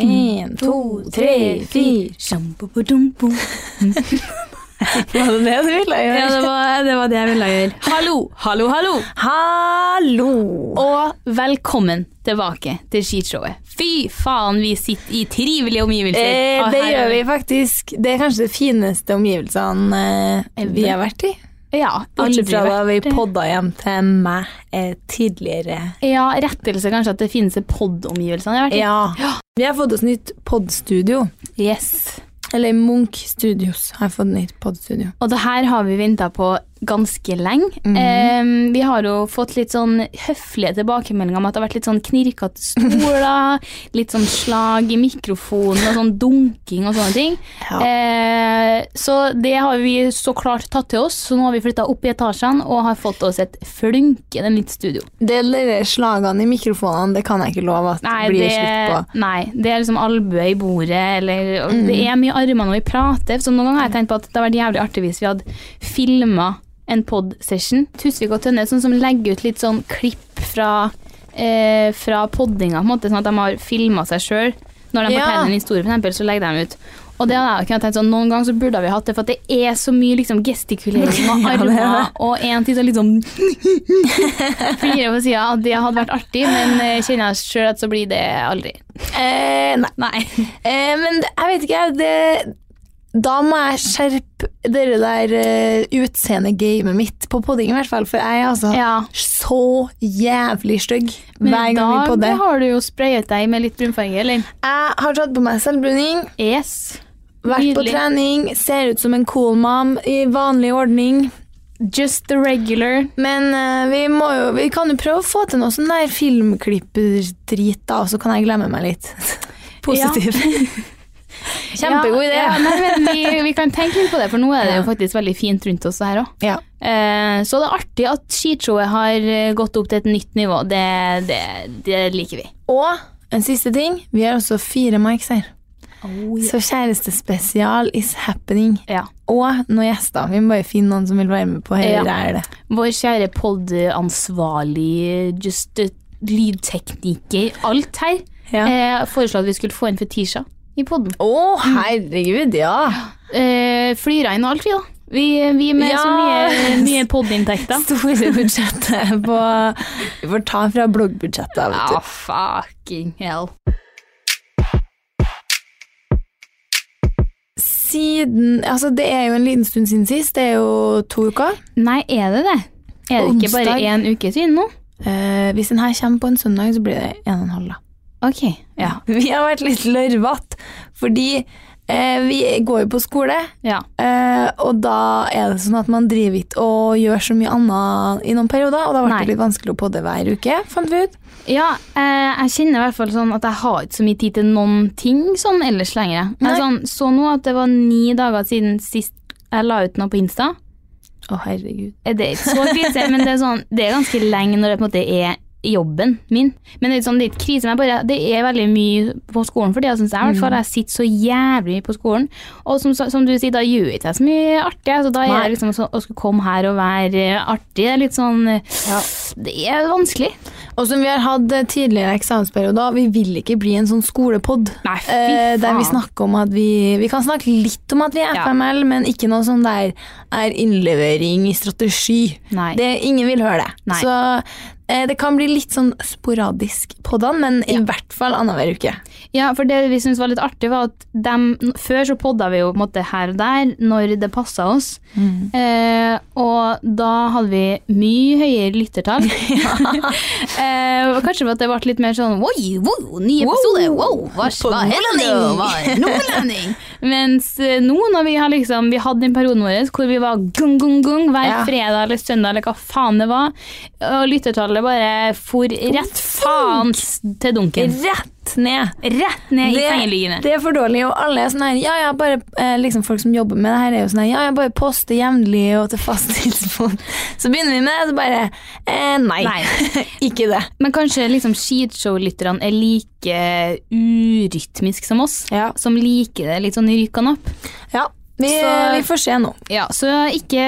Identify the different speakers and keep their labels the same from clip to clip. Speaker 1: En, to, tre, fire.
Speaker 2: Sjampo-bo-dum-bom.
Speaker 1: Var det det du ville
Speaker 2: Ja, det var, det var det jeg ville gjøre. Hallo, hallo, hallo!
Speaker 1: Hallo!
Speaker 2: Og velkommen tilbake til skishowet. Fy faen, vi sitter i trivelige omgivelser.
Speaker 1: Eh,
Speaker 2: Og
Speaker 1: det
Speaker 2: her er
Speaker 1: gjør vi faktisk. Det er kanskje de fineste omgivelsene eh, vi har vært i.
Speaker 2: Ja, aldri
Speaker 1: Bortsett fra da vi
Speaker 2: vært-
Speaker 1: podda hjem til meg eh, tidligere.
Speaker 2: Ja, rettelse kanskje at det finnes pod-omgivelsene jeg har vært i.
Speaker 1: Ja. Vi har fått oss nytt podstudio.
Speaker 2: Yes.
Speaker 1: Eller Munch Studios har fått nytt podstudio.
Speaker 2: Og det her har vi venta på ganske lenge. Eh, vi har jo fått litt sånn høflige tilbakemeldinger om at det har vært litt sånn knirkete stoler, litt sånn slag i mikrofonen og sånn dunking og sånne ting.
Speaker 1: Ja.
Speaker 2: Eh, så det har vi så klart tatt til oss, så nå har vi flytta opp i etasjene og har fått oss et flunkende nytt studio.
Speaker 1: Det der slagene i mikrofonene, det kan jeg ikke love at
Speaker 2: Nei,
Speaker 1: blir
Speaker 2: det,
Speaker 1: slutt på. Mm.
Speaker 2: nei, det er liksom albue i bordet, eller og Det er mye armer når vi prater. Så noen ganger har jeg tenkt på at det hadde vært jævlig artig hvis vi hadde filma en pod-session. Tusvik og Tønne sånn som legger ut litt sånn klipp fra, eh, fra poddinga, på en måte, sånn at de har filma seg sjøl. Når de
Speaker 1: Ja.
Speaker 2: forteller en historie, for eksempel, så legger de ut. Og det hadde jeg kunnet tenkt sånn, Noen ganger så burde vi hatt det, for at det er så mye liksom, gestikulering og
Speaker 1: Ja, det er
Speaker 2: armer.
Speaker 1: det.
Speaker 2: og en ting som liksom flirer på sida. Det hadde vært artig, men eh, kjenner jeg sjøl at så blir det aldri.
Speaker 1: Eh, nei.
Speaker 2: Nei.
Speaker 1: Eh, men det, jeg vet ikke, jeg, det Da må jeg skjerpe dere der eh, utseende-gamet mitt på podding, i hvert fall. For jeg er altså
Speaker 2: Ja.
Speaker 1: så jævlig stygg
Speaker 2: Men
Speaker 1: hver
Speaker 2: i
Speaker 1: gang vi
Speaker 2: dag
Speaker 1: podder.
Speaker 2: har du jo sprayet deg med litt brunfarge, eller?
Speaker 1: Jeg har tatt på meg selvbruning,
Speaker 2: Yes.
Speaker 1: vært på
Speaker 2: Nydelig.
Speaker 1: trening, ser ut som en cool mom i vanlig ordning.
Speaker 2: Just the regular.
Speaker 1: Men eh, vi, må jo, vi kan jo prøve å få til noe sånn der filmklipperdrit, da, så kan jeg glemme meg litt. Positiv. Kjempegod idé.
Speaker 2: Ja, ja, nei, men vi, vi kan tenke litt på det, for nå er det jo faktisk veldig fint rundt oss her òg.
Speaker 1: Ja.
Speaker 2: Eh, så det er artig at skishowet har eh, gått opp til et nytt nivå. Det, det, det liker vi.
Speaker 1: Og en siste ting. Vi har også fire mics her. Så kjærestespesial is happening.
Speaker 2: Ja.
Speaker 1: Og noen gjester. Vi må bare finne noen som vil være med på
Speaker 2: Ja.
Speaker 1: Høyre er det.
Speaker 2: Vår kjære pod-ansvarlig, just eh, lydtekniker, alt her,
Speaker 1: Ja.
Speaker 2: eh, foreslo at vi skulle få inn Fetisha i poden.
Speaker 1: Å, herregud, ja!
Speaker 2: Eh, flyra inn og alt, vi, da. Vi, vi er med
Speaker 1: Ja.
Speaker 2: så mye, mye pod-inntekter.
Speaker 1: Store budsjettet på Vi får ta fra bloggbudsjettet, vet du.
Speaker 2: Ja, fucking hell.
Speaker 1: Siden Altså, det er jo en liten stund siden sist. Det er jo to uker.
Speaker 2: Nei, er det det? Er det ikke bare
Speaker 1: Onsdag.
Speaker 2: én uke siden nå?
Speaker 1: Eh, hvis den her kommer på en søndag, så blir det en og en halv, da.
Speaker 2: Ok, ja.
Speaker 1: Vi har vært litt lørvete, fordi eh, vi går jo på skole.
Speaker 2: ja.
Speaker 1: Eh, og da er det sånn at man driver ikke og gjør så mye annet i noen perioder, og da ble
Speaker 2: Nei.
Speaker 1: det litt vanskelig å podde hver uke, fant vi ut.
Speaker 2: Ja, eh, jeg kjenner i hvert fall sånn at jeg har ikke så mye tid til noen ting sånn ellers lenger. Jeg
Speaker 1: Nei.
Speaker 2: sånn, så nå at det var ni dager siden sist jeg la ut noe på Insta.
Speaker 1: Å, herregud.
Speaker 2: Eh, Det er ikke så krise, men det er, sånn, det er ganske lenge når det på en måte er jobben min. Men det er, ikke sånn, det er ikke krise, men jeg bare, det er veldig mye på skolen for tida, syns jeg. i hvert fall. Jeg sitter så jævlig mye på skolen. Og som, som du sier, da gjør jeg ikke så mye artig. Så da er
Speaker 1: Nei.
Speaker 2: det liksom så, å skulle komme her og være eh, artig, det er litt sånn eh, Det er vanskelig.
Speaker 1: Og som vi har hatt eh, tidligere eksamensperioder, vi vil ikke bli en sånn skolepod.
Speaker 2: Nei, fy
Speaker 1: Eh, der vi
Speaker 2: faen.
Speaker 1: snakker om at vi Vi kan snakke litt om at vi er
Speaker 2: Ja.
Speaker 1: FML, men ikke noe sånn der er innlevering i strategi.
Speaker 2: Nei.
Speaker 1: Det, ingen vil høre det.
Speaker 2: Nei.
Speaker 1: Så eh, det kan bli litt sånn sporadisk poddan, men i hvert fall annenhver uke.
Speaker 2: Ja, for det vi syntes var litt artig var at dem, før så podda vi jo på en måte her og der når det passa oss.
Speaker 1: Mm.
Speaker 2: Eh, og da hadde vi mye høyere lyttertall. eh, og kanskje for at det ble litt mer sånn Oi, wow, ny episode!
Speaker 1: Wow,
Speaker 2: Wow, hva
Speaker 1: på
Speaker 2: hva hender nå? Hva- Nordlending! Mens eh, nå når vi har liksom Vi hadde den perioden vår hvor vi var gung, gung, gung hver
Speaker 1: Ja.
Speaker 2: fredag eller søndag eller hva faen det var, og lyttertallet bare for rett faen til dunken.
Speaker 1: Rett ned.
Speaker 2: Rett ned i sengeliggende.
Speaker 1: det er for dårlig, og alle er sånn her Ja, ja, bare eh, liksom folk som jobber med det her, er jo sånn her Ja, ja, bare poste jevnlig og til fast tidspunkt. Så begynner vi med det, så bare eh, Nei.
Speaker 2: Nei.
Speaker 1: ikke det.
Speaker 2: Men kanskje liksom skishow-lytterne er like urytmisk som oss?
Speaker 1: Ja.
Speaker 2: Som liker det litt sånn i rykk og napp?
Speaker 1: Ja. Vi,
Speaker 2: Så-
Speaker 1: vi får se nå.
Speaker 2: Ja, så ikke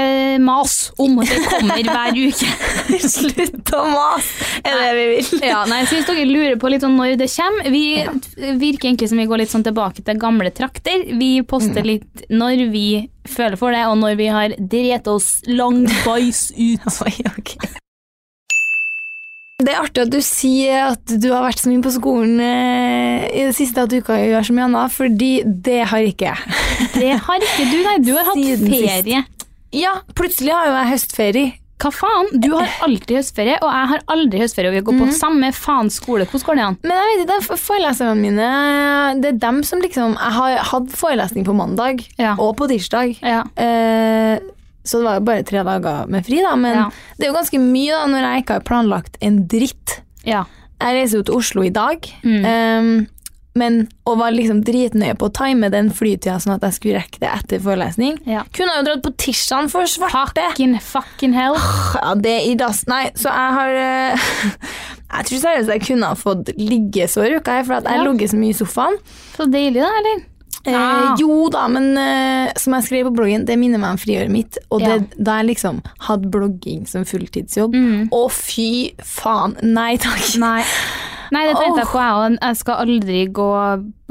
Speaker 2: mas om at det kommer hver uke.
Speaker 1: Slutt å mase, er det vi vil.
Speaker 2: Ja, nei, så Hvis dere lurer på litt sånn når det kommer Vi virker egentlig som vi går litt sånn tilbake til gamle trakter. Vi poster litt når vi føler for det, og når vi har drept oss langbais ut.
Speaker 1: Oi, ok. Det er artig at du sier at du har vært så mye på skolen eh, i det siste at du ikke gjør så mye annet, fordi det har ikke jeg.
Speaker 2: Det har ikke du, nei. Du har hatt
Speaker 1: Siden sist.
Speaker 2: ferie.
Speaker 1: Ja, plutselig har jo jeg høstferie.
Speaker 2: Hva faen? Du har alltid høstferie, og jeg har aldri høstferie. Og vi går på samme faen skole. Hvordan går det an?
Speaker 1: Men jeg vet ikke, det er foreleserne mine Det er dem som liksom Jeg har hatt forelesning på mandag
Speaker 2: Ja.
Speaker 1: og på tirsdag.
Speaker 2: Ja.
Speaker 1: Eh, så det var jo bare tre dager med fri, da. Men
Speaker 2: Ja.
Speaker 1: det er jo ganske mye da når jeg ikke har planlagt en dritt.
Speaker 2: ja.
Speaker 1: Jeg reiser jo til Oslo i dag,
Speaker 2: Mm.
Speaker 1: eh, men, og var liksom dritnøye på å time den flytida sånn at jeg skulle rekke det etter forelesning.
Speaker 2: ja.
Speaker 1: Kunne ha jo dratt på tirsdagen for svarte!
Speaker 2: Fucking, fucking hell.
Speaker 1: Ja, det er i dass. Nei, så jeg har eh, Jeg tror seriøst jeg kunne ha fått liggesår i uka, her, for at jeg
Speaker 2: Ja.
Speaker 1: har ligget så mye i sofaen.
Speaker 2: Så deilig, da, eller?
Speaker 1: Eh,
Speaker 2: Ah.
Speaker 1: Jo da, men eh, som jeg skrev på bloggen, det minner meg om friåret mitt. Og det, da jeg liksom hadde blogging som fulltidsjobb.
Speaker 2: Mm.
Speaker 1: Å, fy faen! Nei takk.
Speaker 2: Nei. Nei, det tenkte jeg på, jeg òg. Jeg skal aldri gå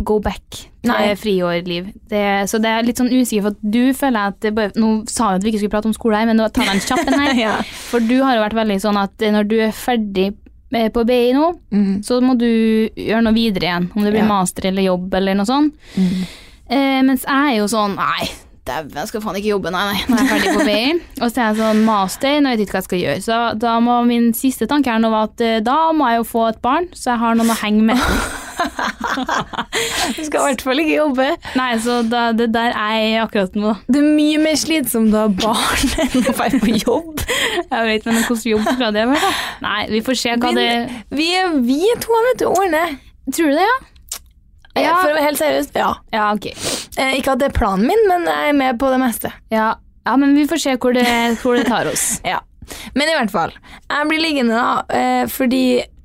Speaker 2: go back til
Speaker 1: Nei.
Speaker 2: friårliv. Det, så det er litt sånn usikker, for at du føler at det bare, Nå sa jeg at vi ikke skulle prate om skole her, men nå tar jeg en kjapp en her.
Speaker 1: Ja.
Speaker 2: For du har jo vært veldig sånn at når du er ferdig eh, på BI nå,
Speaker 1: Mm.
Speaker 2: så må du gjøre noe videre igjen. Om det blir
Speaker 1: Ja.
Speaker 2: master eller jobb eller noe sånt.
Speaker 1: Mm.
Speaker 2: Eh, mens jeg er jo sånn Nei, dæven, jeg skal faen ikke jobbe, nei, nei. Nå er jeg ferdig på BI. Og så er jeg sånn master, nå vet jeg ikke hva jeg skal gjøre. Så da må min siste tanke her nå være at eh, da må jeg jo få et barn, så jeg har noen å henge med.
Speaker 1: Du skal i hvert fall ikke jobbe.
Speaker 2: Nei, så da, det der er jeg akkurat nå, da.
Speaker 1: Det er mye mer slitsomt å ha barn enn å være på jobb.
Speaker 2: Jeg vet men hvordan jobb skal det være, da? Nei, vi får se hva
Speaker 1: Men-
Speaker 2: det
Speaker 1: Vi, vi to vet du, ordner.
Speaker 2: Tror du det, ja?
Speaker 1: Eh,
Speaker 2: Ja.
Speaker 1: For å være helt seriøst, ja.
Speaker 2: Ja, ok.
Speaker 1: Eh, ikke at det er planen min, men jeg er med på det meste.
Speaker 2: Ja, ja men vi får se hvor det, hvor det tar oss.
Speaker 1: Ja. Men i hvert fall. Jeg blir liggende da, eh, fordi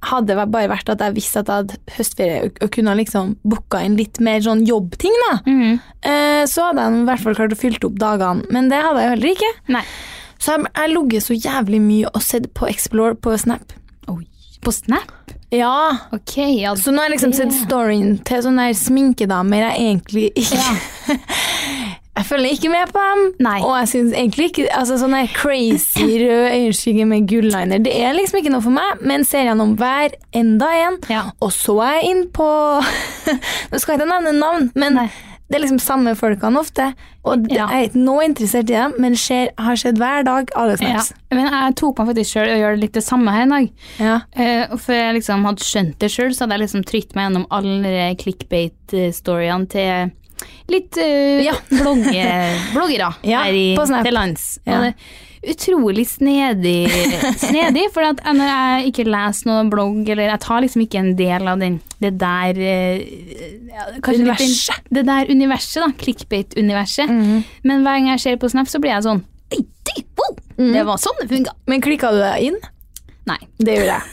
Speaker 1: hadde det bare vært at jeg visste at jeg hadde høstferie og- og kunne ha liksom booka inn litt mer sånn jobbting, da,
Speaker 2: Mhm.
Speaker 1: eh, så hadde jeg i hvert fall klart å fylle opp dagene. Men det hadde jeg jo heller ikke.
Speaker 2: Nei.
Speaker 1: Så jeg, jeg ligget så jævlig mye og sett på Explore på Snap.
Speaker 2: Oi. På Snap?
Speaker 1: Ja,
Speaker 2: Ok, ja.
Speaker 1: Så nå har jeg liksom sett storyen til sånne her sminkedamer jeg egentlig ikke
Speaker 2: Ja.
Speaker 1: Jeg følger ikke med på dem.
Speaker 2: Nei.
Speaker 1: Og jeg synes egentlig ikke altså Sånne crazy røde øyenskygger med gulliner Det er liksom ikke noe for meg, men ser gjennom hver enda en.
Speaker 2: Ja.
Speaker 1: Og så er jeg inn på Nå skal jeg ikke nevne navn, men
Speaker 2: Nei.
Speaker 1: det er liksom samme folkene ofte. Og det-
Speaker 2: Ja.
Speaker 1: jeg er ikke nå interessert i dem, men ser, har sett hver dag alle
Speaker 2: Ja.
Speaker 1: snaps.
Speaker 2: Men jeg tok meg faktisk sjøl og gjør litt det samme her i dag.
Speaker 1: Ja.
Speaker 2: Eh, og før jeg liksom hadde skjønt det sjøl, så hadde jeg liksom trykt meg gjennom alle de clickbait-storyene til litt eh,
Speaker 1: Ja.
Speaker 2: blogge, bloggere
Speaker 1: Ja,
Speaker 2: her i,
Speaker 1: på Snap.
Speaker 2: til lands.
Speaker 1: Ja.
Speaker 2: Og det er utrolig snedig, snedig for at når jeg ikke leser noen blogg, eller jeg tar liksom ikke en del av den, det der eh, ja, kanskje litt den-
Speaker 1: Universet. Mhm.
Speaker 2: det der universet, da. Clickbait-universet. Men hver gang jeg ser på Snap, så blir jeg sånn Oi, det, wow, det
Speaker 1: Mhm.
Speaker 2: var sånn det funka.
Speaker 1: Men klikka du deg inn?
Speaker 2: Nei.
Speaker 1: Det gjorde jeg.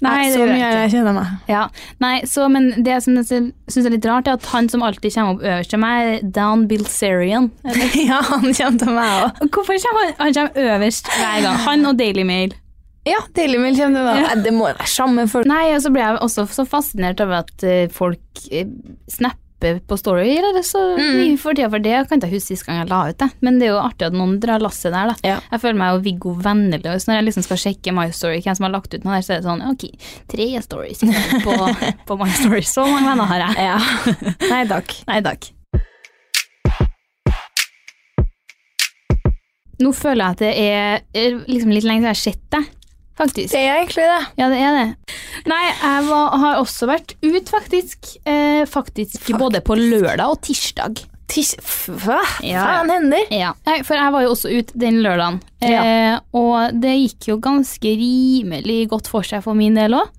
Speaker 2: Nei, det
Speaker 1: så
Speaker 2: gjør jeg
Speaker 1: mye jeg kjenner meg.
Speaker 2: Ja, nei, så, men det som jeg syns er litt rart, er at han som alltid kommer opp øverst til meg, er Dan Bilzerian.
Speaker 1: ja, han kommer til meg òg.
Speaker 2: Hvorfor kommer han, han kommer øverst hver gang? Han og Daily Mail.
Speaker 1: Ja, Dailymil kommer til meg. Nei, Det må jo være samme folk.
Speaker 2: Nei, og så ble jeg også så fascinert over at eh, folk eh, snapper på story, eller så mye for tida for det. Jeg kan ikke huske sist gang jeg la ut det, men det er jo artig at noen drar lasset der, da.
Speaker 1: Ja.
Speaker 2: Jeg føler meg jo Viggo Venneløs når jeg liksom skal sjekke My Story, hvem som har lagt ut noe der, så er det sånn, ok, tre stories på, på My Story. Så mange venner har jeg.
Speaker 1: Ja. Nei takk.
Speaker 2: Nei takk. Nå føler jeg at det er, er liksom litt lenge siden jeg har sett deg, faktisk.
Speaker 1: Det er egentlig det.
Speaker 2: Ja, det er det. Nei, jeg var, har også vært ut, faktisk. Eh, faktisk både på lørdag og tirsdag.
Speaker 1: Tis f- Hva
Speaker 2: Ja.
Speaker 1: faen hender?
Speaker 2: Ja. Nei, for jeg var jo også ut den lørdagen. Eh, Og det gikk jo ganske rimelig godt for seg for min del òg.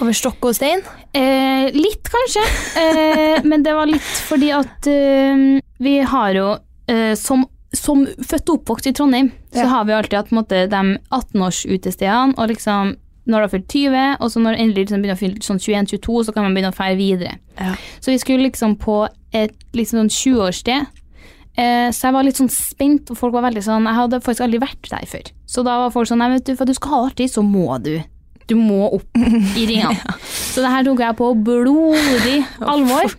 Speaker 1: Over stokk og stein?
Speaker 2: Eh, litt, kanskje. Eh, men det var litt fordi at eh, vi har jo eh, som, som født og oppvokst i Trondheim,
Speaker 1: Ja.
Speaker 2: så har vi alltid hatt på en måte, de 18-årsutestedene. Og liksom når du har fylt 20, og så når du endelig liksom begynner å fylle sånn 21-22, så kan man begynne å feire videre.
Speaker 1: Ja.
Speaker 2: Så vi skulle liksom på et liksom sånn 20-årssted. Eh, så jeg var litt sånn spent, og folk var veldig sånn Jeg hadde faktisk aldri vært der før. Så da var folk sånn Nei, vet du, for at du skal ha det artig, så må du. Du må opp i ringene. Så det her tok jeg på blodig alvor.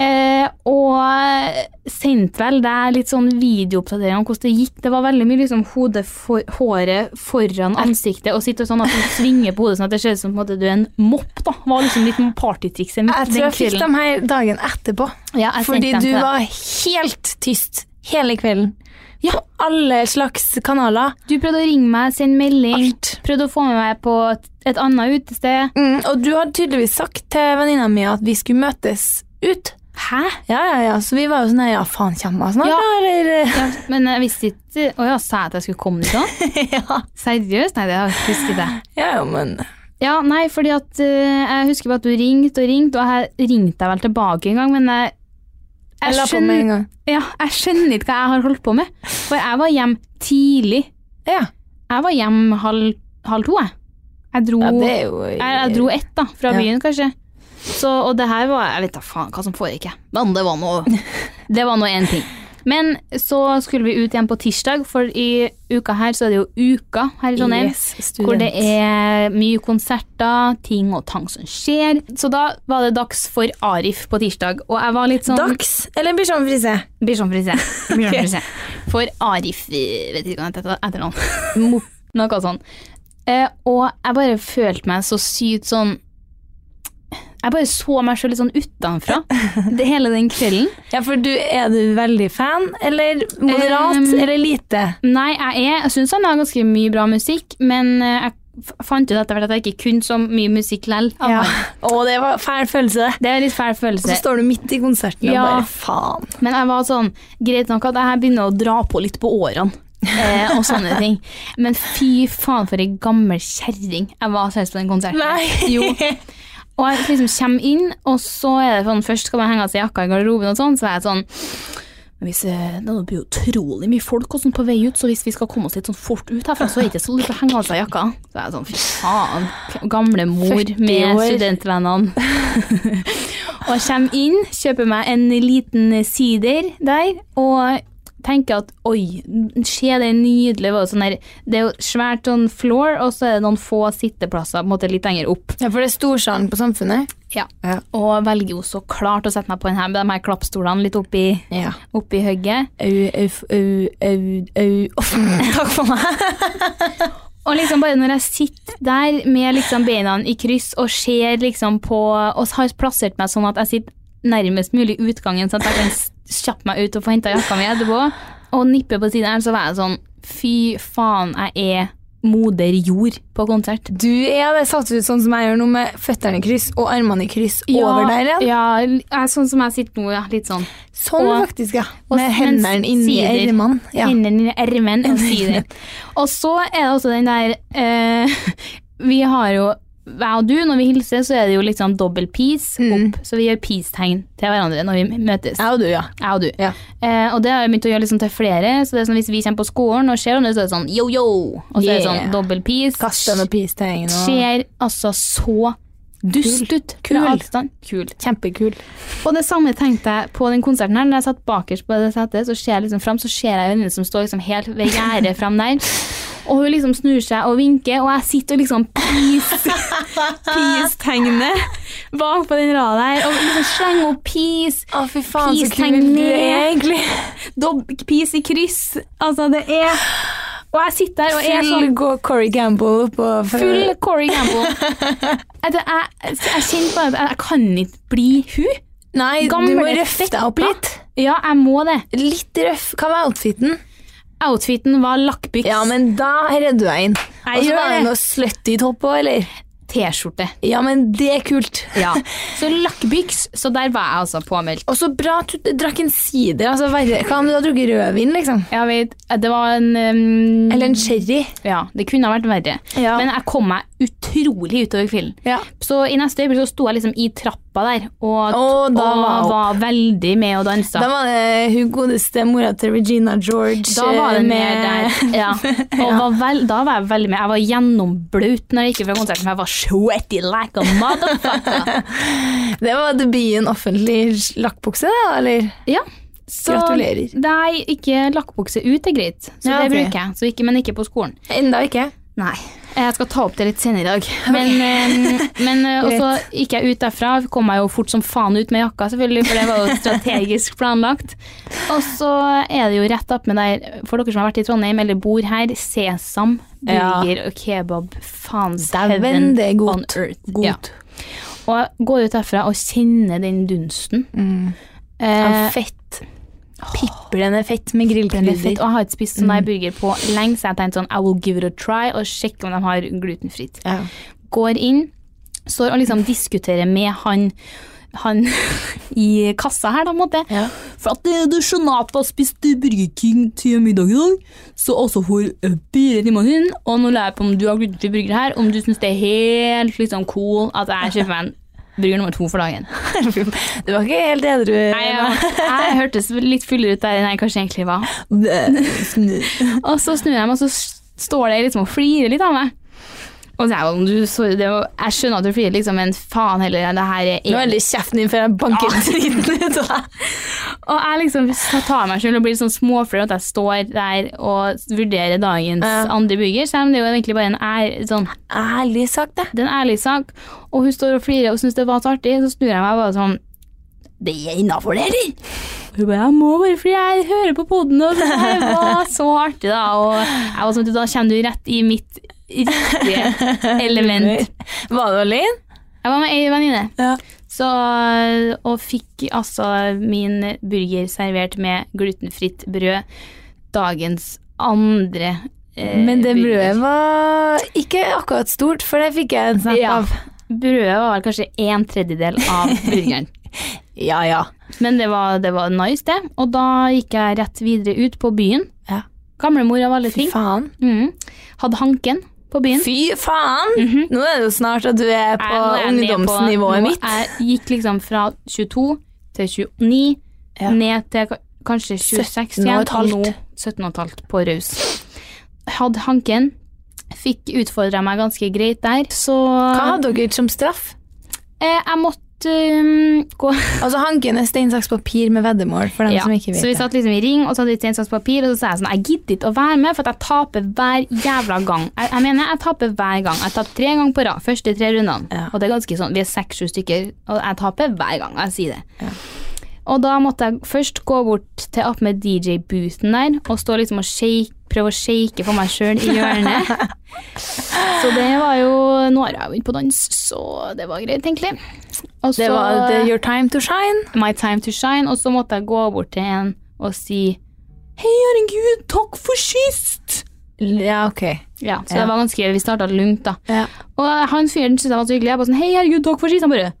Speaker 2: Eh, og sendte vel deg litt sånn videooppdatering om hvordan det gikk. Det var veldig mye liksom hodet for, håret foran ansiktet og sitte sånn at du svinger på hodet sånn at det ser ut som på en måte du er en mopp, da. Var liksom litt partytrikset mitt
Speaker 1: Jeg tror jeg fikk dem her dagen etterpå.
Speaker 2: Ja, jeg
Speaker 1: Fordi
Speaker 2: sendte dem
Speaker 1: du
Speaker 2: til deg.
Speaker 1: var helt tyst hele kvelden. Ja. På alle slags kanaler.
Speaker 2: Du prøvde å ringe meg, sende melding.
Speaker 1: Alt.
Speaker 2: Prøvde å få med meg på et, et annet utested.
Speaker 1: Mm, og du hadde tydeligvis sagt til venninna mi at vi skulle møtes ut.
Speaker 2: Hæ?
Speaker 1: Ja, ja, ja. Så vi var jo sånn her, ja, faen, kommer hun snart,
Speaker 2: Ja.
Speaker 1: da, eller?
Speaker 2: Ja, men jeg visste ikke Å ja, sa jeg at jeg skulle komme dit da?
Speaker 1: ja.
Speaker 2: Seriøst? Nei, det har jeg husket det.
Speaker 1: ja, ja, men
Speaker 2: Ja, nei, fordi at eh, jeg husker bare at du ringte og ringte, og jeg ringte deg vel tilbake en gang, men jeg,
Speaker 1: Jeg la på
Speaker 2: skjønner-
Speaker 1: med en gang.
Speaker 2: Ja, jeg skjønner ikke hva jeg har holdt på med. For jeg var hjem tidlig.
Speaker 1: Ja.
Speaker 2: Jeg var hjem halv, halv to, jeg. Jeg dro,
Speaker 1: ja, det er jo
Speaker 2: jeg, jeg dro ett, da, fra
Speaker 1: Ja.
Speaker 2: byen, kanskje. Så, og det her var Jeg vet da faen hva som foregikk, jeg. Men det var nå Det var nå én ting. Men så skulle vi ut igjen på tirsdag, for i uka her så er det jo uka her i Trondheim.
Speaker 1: Yes, student.
Speaker 2: Hvor det er mye konserter, ting og tang som skjer. Så da var det dags for Arif på tirsdag, og jeg var litt sånn
Speaker 1: Dags, eller Bichon Frise?
Speaker 2: Bichon frisé. Bichon
Speaker 1: Ok.
Speaker 2: frisé. For Arif eh, Vet ikke hva han heter etter navn.
Speaker 1: Mo-
Speaker 2: Noe sånn. Eh, og jeg bare følte meg så sykt sånn Jeg bare så meg sjøl litt sånn utenfra det, hele den kvelden.
Speaker 1: Ja, for du, er du veldig fan, eller moderat,
Speaker 2: Um,
Speaker 1: eller lite?
Speaker 2: Nei, jeg, er- jeg syns han har ganske mye bra musikk, men eh, jeg f- fant ut etter hvert at jeg ikke kunne så mye musikk lell. av
Speaker 1: Ja.
Speaker 2: han.
Speaker 1: Ah, Å, det var fæl følelse, det.
Speaker 2: Det er en litt fæl
Speaker 1: Og så
Speaker 2: følelse.
Speaker 1: står du midt i konserten
Speaker 2: Ja.
Speaker 1: og bare faen.
Speaker 2: Men jeg var sånn, greit nok at jeg her begynner å dra på litt på årene. Eh, og sånne ting. Men fy faen for ei gammel kjerring jeg var seriøst på den konserten. Jo. Og jeg liksom kommer inn, og så er det sånn, først skal man henge av seg jakka i garderoben og sånn, så er jeg sånn men hvis, eh, Det blir jo utrolig mye folk og sånn på vei ut, så hvis vi skal komme oss litt sånn fort ut herfra, så er det ikke så lurt å henge av seg jakka. Så er jeg sånn, fy faen. Gamle mor
Speaker 1: 40
Speaker 2: med
Speaker 1: år.
Speaker 2: studentvennene. og jeg kommer inn, kjøper meg en liten sider der, og tenker at oi, se det nydelige. Det var jo sånn der- Det er jo svært sånn floor, og så er det noen få sitteplasser på en måte litt lenger opp.
Speaker 1: Ja, for det er storsalen på Samfunnet.
Speaker 2: Ja.
Speaker 1: Ja.
Speaker 2: Og velger jo så klart å sette meg på den her med de her klappstolene litt oppi,
Speaker 1: ja.
Speaker 2: oppi høgget.
Speaker 1: Au, au, au, au, au. Uff, Takk for meg.
Speaker 2: Og liksom bare når jeg sitter der med liksom beina i kryss og ser liksom på Og har plassert meg sånn at jeg sitter nærmest mulig utgangen, sånn at jeg kan s- kjappe meg ut og få henta jakka mi etterpå, og nippe på siden her, så var jeg sånn Fy faen, jeg er moder jord på konsert.
Speaker 1: Du er det satt ut sånn som jeg gjør nå, med føttene i kryss og armene i kryss over der igjen.
Speaker 2: Ja, jeg er sånn som jeg sitter nå, ja. Litt sånn.
Speaker 1: Sånn
Speaker 2: Og-
Speaker 1: faktisk, ja.
Speaker 2: og-
Speaker 1: Med
Speaker 2: men
Speaker 1: hendene inni
Speaker 2: sider.
Speaker 1: ermene. Ja.
Speaker 2: hendene i ermen og si det. Og så er det også den der eh, Vi har jo jeg og du, når vi hilser, så er det jo litt sånn dobbel peace
Speaker 1: Mm.
Speaker 2: opp. Så vi gjør peace-tegn til hverandre når vi møtes.
Speaker 1: Jeg og du, ja.
Speaker 2: Jeg og du.
Speaker 1: Ja.
Speaker 2: Eh, og det har jeg begynt å gjøre liksom til flere. Så det er sånn Hvis vi kommer på skolen og ser hverandre, så er det sånn yo, yo. Og så er det
Speaker 1: Yeah.
Speaker 2: sånn dobbel peace.
Speaker 1: Kaste med pistegn og
Speaker 2: Ser altså så dust ut.
Speaker 1: Kul.
Speaker 2: fra avstand. Kul.
Speaker 1: Kjempekul.
Speaker 2: Og det samme tenkte jeg på den konserten her. Når jeg satt bakerst på det setet, så ser jeg liksom frem, så ser jeg en venninne som står liksom helt ved gjerdet frem der. Og hun liksom snur seg og vinker, og jeg sitter og liksom peace- peace-tegnet bak på den rada der. Og liksom slenger opp peace,
Speaker 1: Å, fy faen, så
Speaker 2: Pistegn
Speaker 1: kul du er,
Speaker 2: ned.
Speaker 1: egentlig.
Speaker 2: dob- peace i kryss. Altså, det er Og jeg sitter der og er sånn
Speaker 1: Full gå Corey Gamble opp og
Speaker 2: Full Corey Gamble. Jeg, jeg, jeg kjente bare at jeg, jeg kan ikke bli hun.
Speaker 1: Nei,
Speaker 2: Gamle
Speaker 1: du må røffe deg opp
Speaker 2: fetta.
Speaker 1: litt.
Speaker 2: Ja, jeg må det.
Speaker 1: Litt røff. Hva var outfiten?
Speaker 2: Outfiten var lakkbyks.
Speaker 1: Ja, men da redder du deg inn.
Speaker 2: Jeg
Speaker 1: Og så
Speaker 2: gjør
Speaker 1: var det
Speaker 2: det.
Speaker 1: noe slutty topp òg, eller?
Speaker 2: T-skjorte.
Speaker 1: Ja, men det er kult.
Speaker 2: Ja. Så lakkbyks, så der var jeg altså påmeldt.
Speaker 1: Og så bra at du drakk en sider. Altså, verre. Hva om du hadde drukket rødvin, liksom?
Speaker 2: Jeg vet, det var en um,
Speaker 1: Eller en sherry?
Speaker 2: Ja, det kunne ha vært verre.
Speaker 1: Ja.
Speaker 2: Men jeg kom meg utrolig utover kvelden.
Speaker 1: Ja.
Speaker 2: Så i neste øyeblikk så sto jeg liksom i trappa der, og,
Speaker 1: Å, da
Speaker 2: og
Speaker 1: var
Speaker 2: var,
Speaker 1: hun-
Speaker 2: veldig med og dansa.
Speaker 1: Da var det hun godeste mora til Regina George
Speaker 2: Da var det
Speaker 1: eh,
Speaker 2: med der. Ja. Og var vel, da var jeg veldig med. Jeg var gjennomblaut når jeg gikk fra konserten, for jeg var sweaty like a motherfucker.
Speaker 1: Det var debuten offentlig lakkbukse, da, eller?
Speaker 2: Ja, Så,
Speaker 1: Gratulerer.
Speaker 2: Nei, ikke lakkbukse ut er greit. Så
Speaker 1: Ja,
Speaker 2: det
Speaker 1: ok.
Speaker 2: bruker jeg. Så ikke, men ikke på skolen.
Speaker 1: Enda ikke.
Speaker 2: Nei. Eh, Jeg skal ta opp det litt senere i dag. Men, eh, men eh,
Speaker 1: Greit.
Speaker 2: også gikk jeg ut derfra. Kom meg jo fort som faen ut med jakka, selvfølgelig, for det var jo strategisk planlagt. Og så er det jo rett opp med der, for dere som har vært i Trondheim eller bor her, sesam,
Speaker 1: Ja.
Speaker 2: burger og kebab. Faens
Speaker 1: Dæven,
Speaker 2: heaven
Speaker 1: det er
Speaker 2: on
Speaker 1: godt.
Speaker 2: earth. Ja. Og jeg går ut derfra og kjenner den dunsten.
Speaker 1: Mm.
Speaker 2: Eh,
Speaker 1: Ja, fett. Pipper den er fett med
Speaker 2: Den er fett,
Speaker 1: grillkrydder. Mm.
Speaker 2: og jeg har ikke spist sånn der burger på lenge, så jeg tenkte sånn, I will give it a try, og sjekke om de har glutenfritt.
Speaker 1: Ja.
Speaker 2: Går inn, står og liksom diskuterer med han, han i kassa her da, på en måte.
Speaker 1: Ja.
Speaker 2: For at eh, du skjønner at jeg har spist eh, Burger King til middag i dag, så altså for eh, fire timer siden, og nå lurer jeg på om du har glutenfri burger her, om du synes det er helt liksom cool at jeg kjøper meg en burger nummer to for dagen.
Speaker 1: Du var ikke helt edru.
Speaker 2: Nei, jeg, jeg hørtes litt fullere ut der enn jeg kanskje egentlig var. Og så snur jeg meg, og så s- står det liksom og flirer litt av meg. Og så er jeg jo, du, sorry, det var, jeg skjønner at du flirer, liksom, men faen heller, det her er
Speaker 1: Nå er det kjeften din før jeg banker driten ut av deg.
Speaker 2: Og jeg liksom så tar meg selv og blir litt sånn småflau at jeg står der og vurderer dagens
Speaker 1: Ja.
Speaker 2: andre burger, selv om det er jo egentlig bare en ær, sånn,
Speaker 1: Ærlig sagt, det.
Speaker 2: det er en ærlig sak. Og hun står og flirer og syns det var så artig, så snur jeg meg og bare sånn Det er innafor, det, eller? Og Hun bare, jeg må bare fordi jeg hører på poden, og det her var så artig, da. Og jeg var sånn, «Du, da kommer du rett i mitt riktige element.
Speaker 1: Var du alene?
Speaker 2: Jeg var med ei venninne,
Speaker 1: Ja.
Speaker 2: så, og fikk altså min burger servert med glutenfritt brød. Dagens andre eh,
Speaker 1: Men det
Speaker 2: burger.
Speaker 1: brødet var ikke akkurat stort, for det fikk jeg en snap
Speaker 2: Ja.
Speaker 1: av.
Speaker 2: Brødet var kanskje en tredjedel av burgeren.
Speaker 1: Ja, ja.
Speaker 2: Men det var, det var nice, det. Og da gikk jeg rett videre ut på byen.
Speaker 1: Ja.
Speaker 2: Gamlemor av alle
Speaker 1: Fy
Speaker 2: ting.
Speaker 1: faen.
Speaker 2: Mhm. Hadde hanken på byen.
Speaker 1: Fy faen!
Speaker 2: Mhm.
Speaker 1: Nå er det jo snart at du er på
Speaker 2: Jeg- nå er jeg ned på-
Speaker 1: ungdomsnivået
Speaker 2: nå-
Speaker 1: mitt.
Speaker 2: Jeg gikk liksom fra 22 til 29,
Speaker 1: Ja.
Speaker 2: ned til ka- kanskje 26
Speaker 1: 17 og et
Speaker 2: igjen, og
Speaker 1: halvt.
Speaker 2: nå 17,5 på raus. Hadde hanken, fikk utfordra meg ganske greit der, så
Speaker 1: Hva hadde dere som straff?
Speaker 2: eh, Jeg måtte um, gå
Speaker 1: Altså Hanken er stein, saks, papir med veddemål, for dem
Speaker 2: Ja,
Speaker 1: som ikke vet
Speaker 2: Så vi satt liksom i ring, og så hadde vi stein, saks, papir, og så sa jeg sånn Jeg gidder ikke å være med, for at jeg taper hver jævla gang. Jeg, jeg mener, jeg taper hver gang. Jeg taper tre ganger på rad. Første tre rundene.
Speaker 1: Ja.
Speaker 2: Og det er ganske sånn, vi er seks-sju stykker, og jeg taper hver gang jeg sier det. Og da måtte jeg først gå bort til opp med DJ-booten der, og stå liksom og shake, prøve å shake for meg sjøl i hjørnet. så det var jo Nå har jeg jo ikke på dans, så det var greit, egentlig. Og
Speaker 1: Det
Speaker 2: så-
Speaker 1: var the, Your Time to Shine.
Speaker 2: My Time to Shine, og så måtte jeg gå bort til en og si Hei, herregud, takk for sist!
Speaker 1: Ja, ok.
Speaker 2: Ja, så
Speaker 1: Ja.
Speaker 2: det var ganske, vi starta lungt, da.
Speaker 1: Ja.
Speaker 2: Og han fyren syntes jeg var så hyggelig. Jeg bare sånn Hei, herregud, takk for sist. Han bare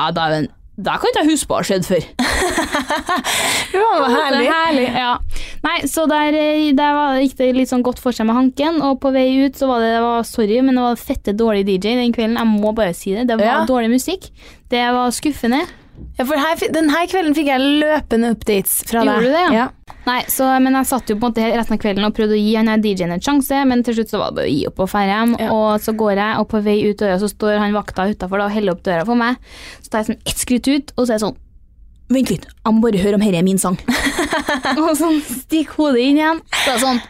Speaker 2: Ja, dæven, det kan ikke jeg huske på har skjedd før.
Speaker 1: Det var
Speaker 2: Så
Speaker 1: herlig.
Speaker 2: herlig, ja. Nei, så der, eh, der var, gikk det litt sånn godt for seg med Hanken, og på vei ut så var det, det var, Sorry, men det var fette dårlig DJ den kvelden. Jeg må bare si det. Det var
Speaker 1: Ja.
Speaker 2: dårlig musikk. Det var skuffende.
Speaker 1: Ja, for her, fi- denne kvelden fikk jeg løpende updates fra deg.
Speaker 2: Gjorde du det, ja? Nei, så, men jeg satt jo på en måte resten av kvelden og prøvde å gi han her DJ-en en sjanse, men til slutt så var det bare å gi opp og ferde hjem.
Speaker 1: Ja.
Speaker 2: Og så går jeg, og på vei ut døra så står han vakta utafor og heller opp døra for meg. Så tar jeg sånn ett skritt ut, og så er jeg sånn Vent litt, jeg må bare høre om dette er min sang. og sånn stikk hodet inn igjen. Så er jeg sånn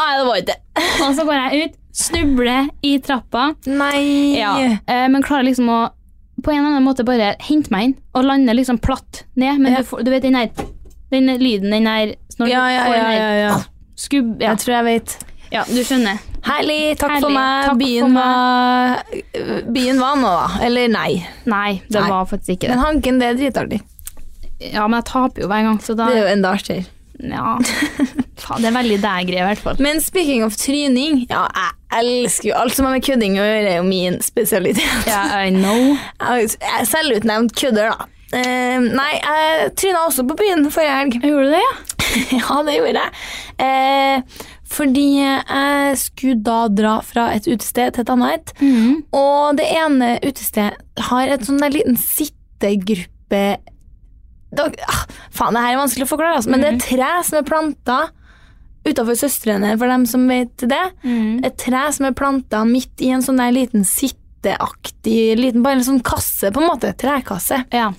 Speaker 2: Nei, det var ikke det. Og så går jeg ut, snubler i trappa.
Speaker 1: Nei!
Speaker 2: Ja, eh, men klarer liksom å på en eller annen måte bare hente meg inn og lande liksom platt ned. Men
Speaker 1: Ja.
Speaker 2: du, får, du vet den der den der lyden, den der når du
Speaker 1: Ja, ja,
Speaker 2: får den
Speaker 1: ja,
Speaker 2: der
Speaker 1: ja, ja.
Speaker 2: Skubb, ja.
Speaker 1: Jeg tror jeg vet.
Speaker 2: ja, du skjønner.
Speaker 1: Herlig, takk for
Speaker 2: Herlig,
Speaker 1: meg.
Speaker 2: takk for
Speaker 1: byen, Var, byen var nå, da. Eller nei.
Speaker 2: Nei, det
Speaker 1: Nei.
Speaker 2: var faktisk ikke
Speaker 1: Men
Speaker 2: det.
Speaker 1: Hanken, det er dritartig.
Speaker 2: Ja, men jeg taper jo hver gang, så da
Speaker 1: Det er jo enda artigere.
Speaker 2: Ja. Faen, det er veldig deg greie, i hvert fall.
Speaker 1: Men speaking of tryning, ja, jeg elsker jo alt som har med kødding å gjøre, er jo min spesialitet.
Speaker 2: Ja, I know.
Speaker 1: Jeg er selvutnevnt kødder, da. Eh, nei, jeg tryna også på byen forrige helg.
Speaker 2: Gjorde du det, ja?
Speaker 1: ja, det gjorde jeg. Eh, fordi jeg skulle da dra fra et utested til et annet.
Speaker 2: Mhm.
Speaker 1: Og det ene utestedet har et sånn der liten sittegruppe da, ah, Faen, det her er vanskelig å forklare, altså, men det er et tre som er planta utafor Søstrene, for dem som vet det.
Speaker 2: Mhm.
Speaker 1: Et tre som er planta midt i en sånn der liten sitteaktig liten, Bare en sånn kasse, på en måte. Trekasse.
Speaker 2: Ja.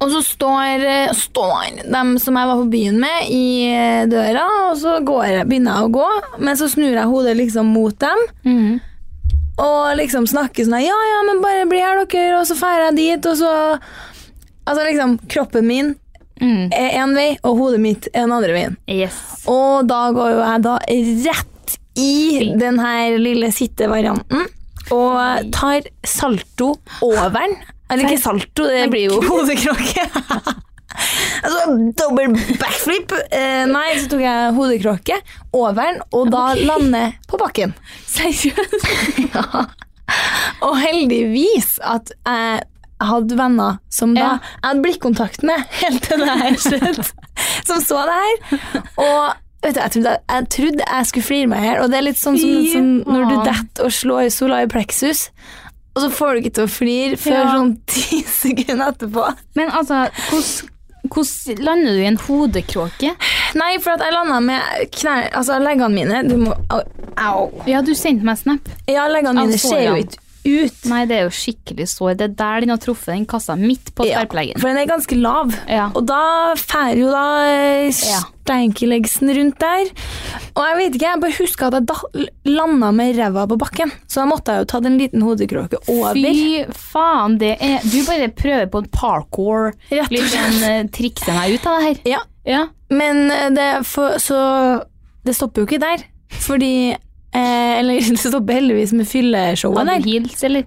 Speaker 1: Og så står, eh, står dem som jeg var på byen med, i eh, døra, og så går jeg, begynner jeg å gå, men så snur jeg hodet liksom mot dem.
Speaker 2: Mhm.
Speaker 1: Og liksom snakke sånn her, Ja, ja, men bare bli her, dere, og så drar jeg dit, og så Altså liksom, kroppen min
Speaker 2: Mhm.
Speaker 1: er én vei, og hodet mitt er den andre veien.
Speaker 2: Yes.
Speaker 1: Og da går jo jeg da rett i den her lille sittevarianten og tar salto over den. Eller ikke salto, det blir jo hodekråke. altså dobbel backflip. Eh, nei, så tok jeg hodekråke over den, og da lander jeg på bakken.
Speaker 2: Seriøst?
Speaker 1: Og heldigvis at jeg hadde venner som da
Speaker 2: Ja.
Speaker 1: jeg hadde blikkontakt med helt til det her skjedde, som så det her. Og vet du, jeg, trodde, jeg trodde jeg skulle flire meg her, og det er litt sånn som,
Speaker 2: Fy
Speaker 1: som når du
Speaker 2: faen.
Speaker 1: detter og slår sola i pleksus, og så får du ikke til å flire før
Speaker 2: Ja.
Speaker 1: sånn ti sekunder etterpå.
Speaker 2: Men altså, hvordan hvordan lander du i en hodekråke?
Speaker 1: Nei, for at jeg landa med knær, altså leggene mine Du må Au. au.
Speaker 2: Ja, du sendte meg snap.
Speaker 1: Ja, leggene
Speaker 2: Av
Speaker 1: mine ser jo
Speaker 2: sårene.
Speaker 1: ikke ut.
Speaker 2: Nei, det er jo skikkelig sår. Det er der den har truffet den kassa, midt på
Speaker 1: Ja,
Speaker 2: tverrpleggen.
Speaker 1: for den er ganske lav.
Speaker 2: Ja.
Speaker 1: Og da fær jo da eh, steinkileggsen rundt der. Og jeg vet ikke, jeg bare husker at jeg da landa med ræva på bakken. Så da måtte jeg jo ta den liten hodekråke over.
Speaker 2: Fy faen, det er Du bare prøver på en parkour.
Speaker 1: Rett og
Speaker 2: Litt
Speaker 1: slett.
Speaker 2: sånn eh, trikse meg ut av det her.
Speaker 1: Ja,
Speaker 2: Ja.
Speaker 1: men eh, det, for, så det stopper jo ikke der. Fordi eh, Eller det stopper heldigvis med fylleshowet
Speaker 2: Hadde
Speaker 1: der.
Speaker 2: du heels, eller?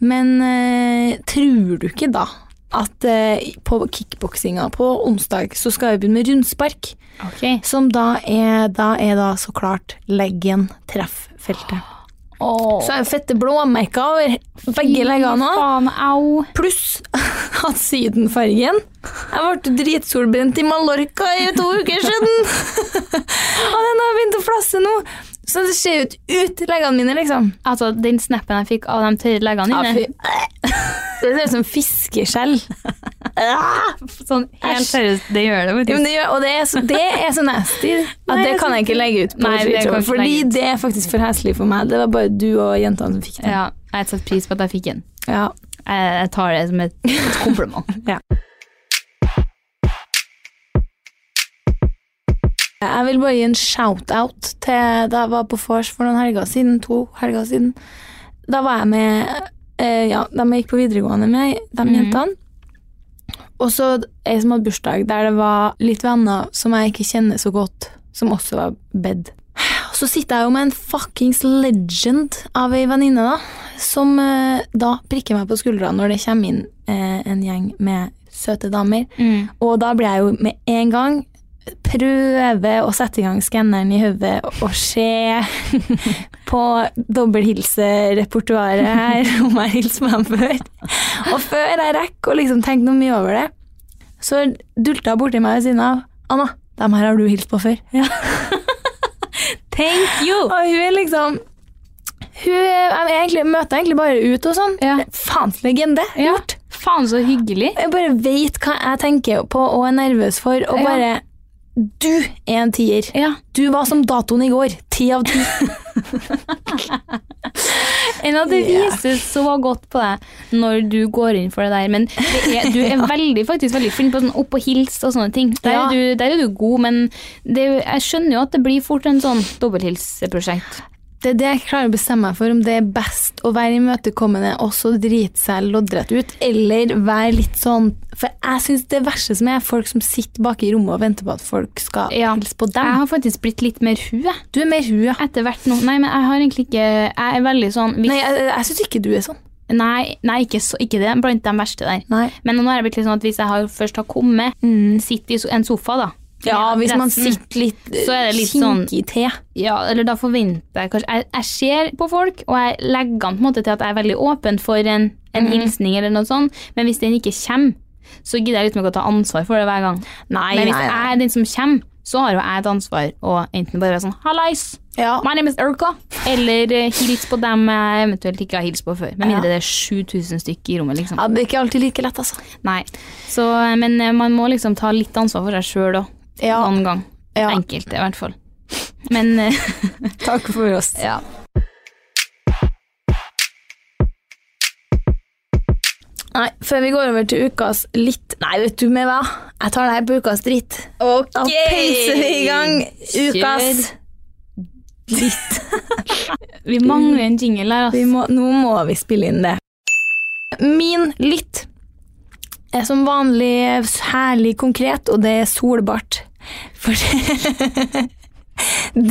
Speaker 1: Men eh, tror du ikke da at eh, på kickboksinga på onsdag så skal vi begynne med rundspark?
Speaker 2: Ok.
Speaker 1: Som da er da, er da så klart leggen trefffeltet.
Speaker 2: Åh.
Speaker 1: Så er det fette blåmerker over begge leggene
Speaker 2: Fy
Speaker 1: òg.
Speaker 2: Faen, au.
Speaker 1: Pluss at sydenfargen Jeg ble dritsolbrent i Mallorca i to uker siden! Og den har begynt å flasse nå. Så det ser jo ikke ut leggene mine, liksom.
Speaker 2: Altså, den snappen jeg fikk av de tørre leggene
Speaker 1: Ja, fy.
Speaker 2: dine,
Speaker 1: Det ser ut som fiskeskjell.
Speaker 2: sånn helt
Speaker 1: Æsj.
Speaker 2: seriøst, det gjør det
Speaker 1: Ja, men
Speaker 2: faktisk.
Speaker 1: det gjør, og det er, så, det er så nasty at
Speaker 2: Nei,
Speaker 1: det
Speaker 2: jeg
Speaker 1: kan jeg
Speaker 2: synes
Speaker 1: ikke legge ut på
Speaker 2: Nei, det kan
Speaker 1: Twitter.
Speaker 2: ikke
Speaker 1: Fordi
Speaker 2: legge ut.
Speaker 1: det er faktisk for heslig for meg. Det var bare du og jentene som fikk det.
Speaker 2: Ja, jeg setter pris på at jeg fikk den.
Speaker 1: Ja.
Speaker 2: Jeg, jeg tar det som et, et kompliment.
Speaker 1: Jeg vil bare gi en shout-out til da jeg var på vors for noen helger siden. To helger siden. Da var jeg med eh, ja, dem jeg gikk på videregående med, de
Speaker 2: Mhm.
Speaker 1: jentene. Og så ei som hadde bursdag, der det var litt venner som jeg ikke kjenner så godt, som også var bedt. Og så sitter jeg jo med en fuckings legend av ei venninne, da, som eh, da prikker meg på skuldra når det kommer inn eh, en gjeng med søte damer.
Speaker 2: Mm.
Speaker 1: Og da blir jeg jo med en gang prøve å sette i gang skanneren i hodet og se på dobbelthilserepertoaret her, om jeg hilser på dem før. Og før jeg rekker å liksom tenke noe mye over det, så dulta hun borti meg ved siden av. Anna, dem her har du hilst på før.
Speaker 2: Thank you!
Speaker 1: Og hun er liksom Hun er, jeg egentlig, møter jeg egentlig bare ut og sånn.
Speaker 2: Ja.
Speaker 1: Faens legende.
Speaker 2: Ja. Faen, så hyggelig.
Speaker 1: Jeg bare vet hva jeg tenker på og er nervøs for, og
Speaker 2: Ja.
Speaker 1: bare Du er en tier.
Speaker 2: Ja.
Speaker 1: Du var som datoen i går. Ti av ti.
Speaker 2: Enn at det
Speaker 1: Ja.
Speaker 2: vises så godt på deg når du går inn for det der. Men det er, du er veldig, faktisk veldig flink på sånn opp og hils og sånne ting. Der,
Speaker 1: Ja.
Speaker 2: er, du, der er du god, men det, er jo- jeg skjønner jo at det blir fort en sånn dobbelthilseprosjekt.
Speaker 1: Det er det jeg klarer å bestemme meg for, om det er best å være imøtekommende og så drite seg loddrett ut, eller være litt sånn For jeg syns det verste som er, er folk som sitter bak i rommet og venter på at folk skal
Speaker 2: Ja.
Speaker 1: hilse på
Speaker 2: Jeg
Speaker 1: dem.
Speaker 2: har faktisk blitt litt mer hun, jeg.
Speaker 1: Du er mer hun, ja.
Speaker 2: Etter hvert nå. Nei, men jeg har egentlig ikke Jeg er veldig sånn hvis,
Speaker 1: Nei, jeg, jeg syns ikke du er sånn.
Speaker 2: Nei, nei ikke, så, ikke det. Blant de verste der.
Speaker 1: Nei.
Speaker 2: Men nå har jeg blitt litt sånn at hvis jeg har, først har kommet, sitter i so- en sofa, da.
Speaker 1: Ja,
Speaker 2: Med
Speaker 1: hvis man
Speaker 2: resten.
Speaker 1: sitter litt, eh,
Speaker 2: Så er det litt
Speaker 1: kinkig til.
Speaker 2: Ja, eller da forventer jeg kanskje Jeg, jeg ser på folk, og jeg legger an på en måte til at jeg er veldig åpen for en, en
Speaker 1: Mhm.
Speaker 2: hilsning eller noe sånt, men hvis den ikke kommer, så gidder jeg liksom ikke å ta ansvar for det hver gang.
Speaker 1: Nei,
Speaker 2: men hvis jeg er den som kommer, så har jo jeg et ansvar å enten bare være sånn Hallais,
Speaker 1: Ja.
Speaker 2: my name is Erka, eller eh, hils på dem jeg eventuelt ikke har hilst på før. Med
Speaker 1: Ja.
Speaker 2: mindre det er 7000 stykker i rommet, liksom.
Speaker 1: ja, det er ikke alltid like lett, altså.
Speaker 2: Nei. Så, eh, men eh, man må liksom ta litt ansvar for seg sjøl òg,
Speaker 1: Ja,
Speaker 2: noen gang.
Speaker 1: ja.
Speaker 2: Enkelte, i hvert fall. Men eh,
Speaker 1: Takk for oss.
Speaker 2: ja.
Speaker 1: Nei, før vi går over til ukas litt Nei, vet du med hva? Jeg tar det her på ukas dritt.
Speaker 2: Ok!
Speaker 1: Da peiser vi i gang ukas dritt.
Speaker 2: Vi mangler en jingle her,
Speaker 1: Vi
Speaker 2: altså.
Speaker 1: må, nå må vi spille inn det. Min litt er som vanlig herlig konkret, og det er solbart. For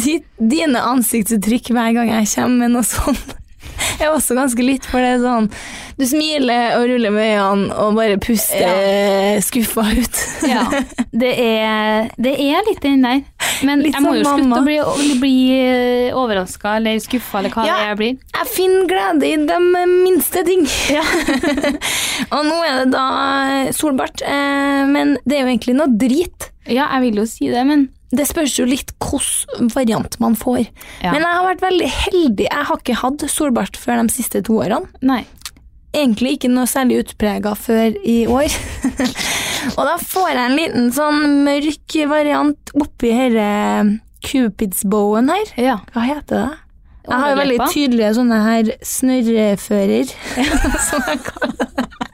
Speaker 1: Ditt, dine ansiktsuttrykk hver gang jeg kommer med noe sånt, er også ganske litt, for det er sånn Du smiler og ruller med øynene og bare puster skuffa ut.
Speaker 2: Ja. Det er, det er litt den der. Men
Speaker 1: Litt
Speaker 2: jeg må
Speaker 1: som
Speaker 2: jo slutte
Speaker 1: mamma.
Speaker 2: å bli, å bli overraska eller skuffa eller hva
Speaker 1: Ja.
Speaker 2: det er jeg blir.
Speaker 1: Jeg finner glede i de minste ting. og nå er det da solbart, eh, men det er jo egentlig noe drit.
Speaker 2: Ja, jeg vil jo si det, men
Speaker 1: Det spørs jo litt hvilken variant man får.
Speaker 2: Ja.
Speaker 1: Men jeg har vært veldig heldig. Jeg har ikke hatt solbart før de siste to årene.
Speaker 2: nei.
Speaker 1: Egentlig ikke noe særlig utprega før i år. og da får jeg en liten sånn mørk variant oppi herre cupidsbowen her.
Speaker 2: Ja.
Speaker 1: Hva heter det? Jeg har jo veldig
Speaker 2: Overleppa.
Speaker 1: tydelige sånne her snørrefører, som jeg kaller det.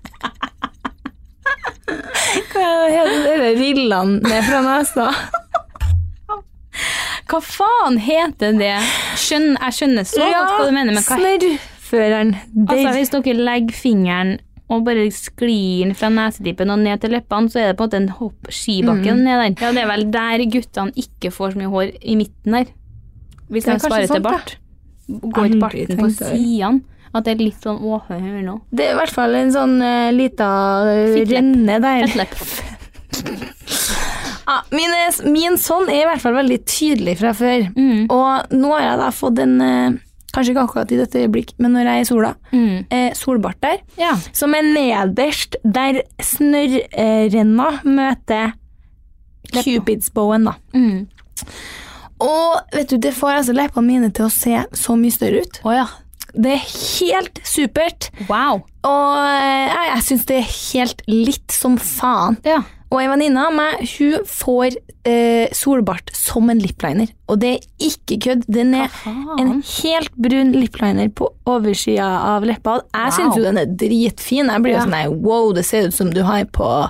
Speaker 1: Hva heter de rillene ned fra nesa?
Speaker 2: Hva faen heter det? Skjønn, jeg skjønner så godt hva du mener, men hva
Speaker 1: snørrføreren.
Speaker 2: Altså, hvis dere legger fingeren og bare sklir den fra nesetippen og ned til leppene, så er det på en måte en hopp skibakke ned der. Mm. Ja, det er vel der guttene ikke får så mye hår i midten der. Hvis
Speaker 1: Det er
Speaker 2: de
Speaker 1: kanskje
Speaker 2: sparer til
Speaker 1: sant,
Speaker 2: bart. sånn, Går ikke
Speaker 1: Aldri
Speaker 2: barten på
Speaker 1: tenkt over.
Speaker 2: sidene. At det er litt sånn åh, hør hør nå.
Speaker 1: Det er i hvert fall en sånn eh, lita eh,
Speaker 2: Fittlepp.
Speaker 1: renne der.
Speaker 2: Fettlepp.
Speaker 1: Ja, min, er- min sånn er i hvert fall veldig tydelig fra før.
Speaker 2: Mm.
Speaker 1: Og nå har jeg da fått en, eh, kanskje ikke akkurat i dette øyeblikk, men når jeg er i sola,
Speaker 2: Mm.
Speaker 1: eh, solbart der.
Speaker 2: Ja.
Speaker 1: som er nederst der snørrenna møter cupidsbowen, da.
Speaker 2: Mm.
Speaker 1: Og vet du, det får altså leppene mine til å se så mye større ut.
Speaker 2: Å ja.
Speaker 1: Det er helt supert,
Speaker 2: Wow.
Speaker 1: og eh, jeg, jeg syns det er helt litt som faen.
Speaker 2: Ja.
Speaker 1: Og ei venninne av meg, hun får eh, solbart som en lipliner, og det er ikke kødd. Den er
Speaker 2: Eh,
Speaker 1: en
Speaker 2: Faen.
Speaker 1: helt brun lipliner på oversida av leppa. Jeg
Speaker 2: Wow.
Speaker 1: syns jo den er dritfin. Jeg blir jo
Speaker 2: Ja.
Speaker 1: sånn nei, wow, det ser ut som du har på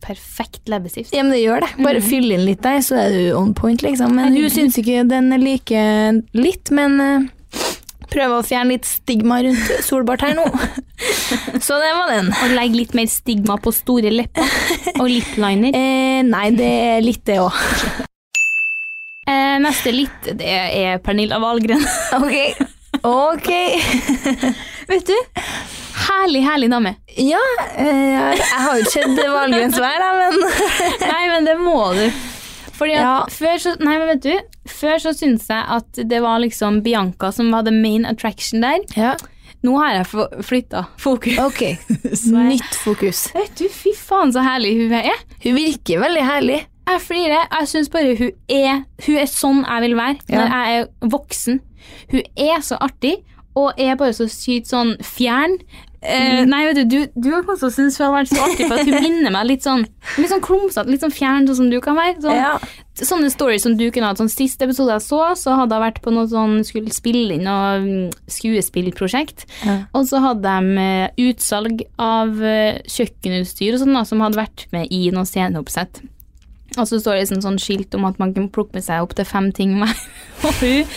Speaker 2: Perfekt leppestift.
Speaker 1: Ja, men det gjør det. Bare fyll inn litt der, så er du on point, liksom. Men hun syns ikke den er like litt, men eh, prøver å fjerne litt stigma rundt solbart her nå. så det var den.
Speaker 2: Og legg litt mer stigma på store lepper. Og lipliner.
Speaker 1: Eh, nei, det er litt det òg.
Speaker 2: Eh, neste litt, det er Pernilla Wahlgren.
Speaker 1: Ok. Ok.
Speaker 2: Vet du? Herlig, herlig dame.
Speaker 1: Ja, eh, jeg har jo ikke sett valgrens vær, da, men
Speaker 2: Nei, men det må du. Fordi at
Speaker 1: Ja.
Speaker 2: før så Nei, men vet du, før så syntes jeg at det var liksom Bianca som hadde main attraction der.
Speaker 1: ja.
Speaker 2: Nå har jeg flytta fokus.
Speaker 1: Ok. Nytt fokus.
Speaker 2: Vet du, fy faen så herlig hun er.
Speaker 1: Hun virker veldig herlig.
Speaker 2: Jeg flirer. Jeg syns bare hun er Hun er sånn jeg vil være
Speaker 1: Ja.
Speaker 2: når jeg er voksen. Hun er så artig og er bare så sykt sånn fjern. Eh,
Speaker 1: Mm.
Speaker 2: nei, vet du, du, du har også syntes hun har vært så artig, for at hun minner meg litt sånn Litt sånn klumsete, litt sånn fjern, sånn som du kan være. Sånn,
Speaker 1: Ja.
Speaker 2: Sånne stories som du kunne hatt. Sånn Siste episode jeg så, så hadde jeg vært på noe sånn skulle spille inn noe mm, skuespillprosjekt.
Speaker 1: Ja.
Speaker 2: Og så hadde de eh, utsalg av eh, kjøkkenutstyr og sånn, da, som hadde vært med i noe sceneoppsett. Og så står det liksom sånn skilt om at man kan plukke med seg opp til fem ting hver. Og hun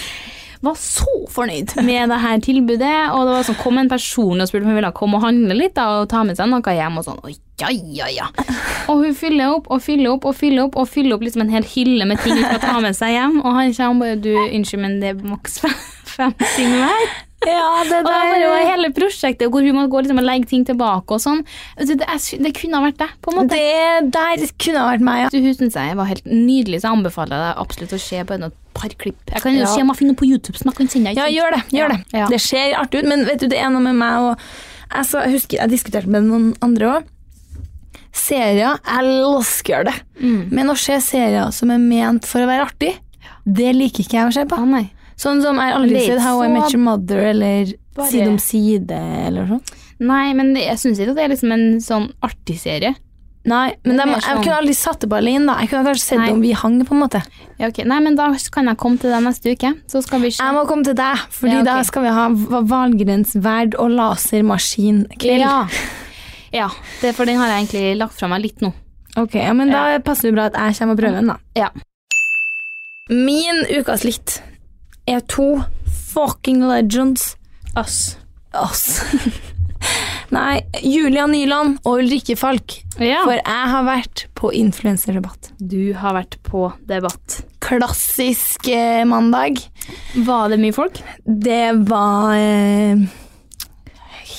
Speaker 2: var så fornøyd med det her tilbudet. Og det var sånn, kom en person og spurte om hun ville komme og handle litt da, og ta med seg noe hjem. Og sånn, «Oi, ja, ja, ja. Og hun fyller opp og fyller opp og fyller opp og fyller opp liksom en hel hylle med ting hun skal ta med seg hjem. Og han kommer bare du, unnskyld, men det er maks fem, fem ting hver.
Speaker 1: Ja, det eh,
Speaker 2: Og det er bare hele prosjektet hvor hun må gå liksom og legge ting tilbake og sånn. Altså, Det, jeg sy- det kunne ha vært det, på en måte.
Speaker 1: Det der kunne ha vært meg, ja.
Speaker 2: Du, Hun syns jeg var helt nydelig, så jeg anbefaler deg absolutt å se på et par klipp. Jeg kan jo
Speaker 1: Ja.
Speaker 2: se om jeg finner noe på YouTube som jeg kan sende deg.
Speaker 1: Ja, gjør det. gjør
Speaker 2: Ja.
Speaker 1: Det
Speaker 2: Ja.
Speaker 1: Det ser artig ut, men vet du, det er noe med meg og Jeg, så, jeg husker jeg diskuterte med noen andre òg. Serier Jeg elsker det.
Speaker 2: Mm.
Speaker 1: Men å se serier som er ment for å være artig, det liker ikke jeg å se på.
Speaker 2: Å nei.
Speaker 1: Sånn som jeg har
Speaker 2: Men
Speaker 1: aldri
Speaker 2: det er
Speaker 1: sett
Speaker 2: ikke
Speaker 1: How I
Speaker 2: så-
Speaker 1: Met Your Mother eller
Speaker 2: Bare-
Speaker 1: Side om side eller sånn.
Speaker 2: nei, men jeg syns ikke at det er liksom en sånn artig serie.
Speaker 1: Nei, men
Speaker 2: Det er
Speaker 1: dem-
Speaker 2: mer
Speaker 1: jeg
Speaker 2: sånn-
Speaker 1: kunne aldri satt det på alene, da. Jeg kunne kanskje sett
Speaker 2: Nei.
Speaker 1: det om vi hang, på en måte.
Speaker 2: Ja, ok. Nei, men da kan jeg komme til deg neste uke, så skal vi se.
Speaker 1: Jeg må komme til deg, Fordi
Speaker 2: Ja, ok.
Speaker 1: da skal vi ha Valgrens verd og lasermaskin kveld.
Speaker 2: Ja. Ja, det, for den har jeg egentlig lagt fra meg litt nå.
Speaker 1: Ok, ja, men da passer det bra at jeg kommer og prøver den, da.
Speaker 2: Ja.
Speaker 1: Min ukas litt er to fucking legends.
Speaker 2: Ass.
Speaker 1: Ass. Nei, Julia Nyland og Ulrikke Falk.
Speaker 2: Ja.
Speaker 1: For jeg har vært på influenserdebatt.
Speaker 2: du har vært på debatt.
Speaker 1: Klassisk eh, mandag.
Speaker 2: Var det mye folk?
Speaker 1: Det var eh,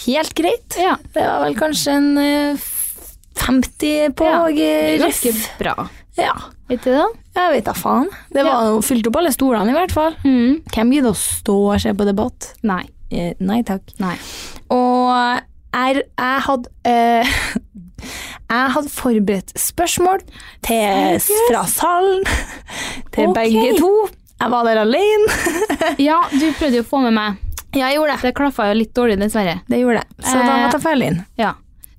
Speaker 1: helt greit.
Speaker 2: Ja.
Speaker 1: Det var vel kanskje en eh, 50 på
Speaker 2: Ja,
Speaker 1: eh, ref.
Speaker 2: Ganske bra.
Speaker 1: Ja,
Speaker 2: Vet du det?
Speaker 1: jeg vet da faen. Det var jo fylt opp alle stolene i hvert fall.
Speaker 2: Mm.
Speaker 1: Hvem gidder å stå og se på debatt?
Speaker 2: Nei.
Speaker 1: Eh, nei takk.
Speaker 2: Nei.
Speaker 1: Og jeg, jeg hadde eh, Jeg hadde forberedt spørsmål til, fra salen til
Speaker 2: Ok.
Speaker 1: begge to. Jeg var der alene.
Speaker 2: Ja, du prøvde jo å få med meg.
Speaker 1: Ja, jeg gjorde det.
Speaker 2: Det klaffa jo litt dårlig, dessverre.
Speaker 1: Det gjorde jeg. Så da
Speaker 2: Eh,
Speaker 1: måtte jeg følge inn.
Speaker 2: Ja.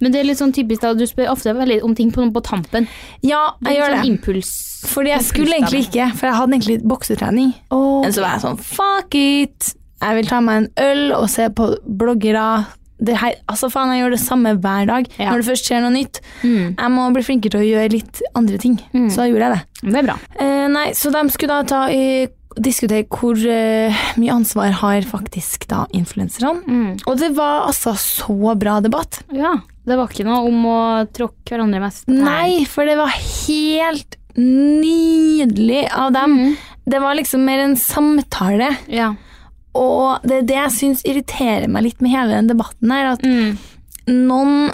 Speaker 2: Men det er litt sånn typisk da, du spør ofte veldig om ting på, på tampen.
Speaker 1: Ja,
Speaker 2: Det
Speaker 1: jeg
Speaker 2: er
Speaker 1: gjør
Speaker 2: litt sånn
Speaker 1: det.
Speaker 2: impuls.
Speaker 1: Fordi jeg skulle egentlig ikke, for jeg hadde egentlig boksetrening.
Speaker 2: Åh.
Speaker 1: Men så var jeg sånn, fuck it! Jeg vil ta meg en øl og se på bloggere. Det her, altså faen, jeg gjør det samme hver dag.
Speaker 2: Ja.
Speaker 1: Når det først skjer noe nytt.
Speaker 2: Mm.
Speaker 1: Jeg må bli flinkere til å gjøre litt andre ting.
Speaker 2: Mm.
Speaker 1: Så da gjorde jeg det.
Speaker 2: Det er bra.
Speaker 1: Eh, nei, så de skulle da ta i, diskutere hvor eh, mye ansvar har faktisk da influenserne.
Speaker 2: Mm.
Speaker 1: Og det var altså så bra debatt.
Speaker 2: Ja. Det var ikke noe om å tråkke hverandre mest.
Speaker 1: Nei, for det var helt nydelig av dem.
Speaker 2: Mm.
Speaker 1: Det var liksom mer en samtale.
Speaker 2: Ja.
Speaker 1: Og det er det jeg syns irriterer meg litt med hele den debatten her, at
Speaker 2: Mm.
Speaker 1: noen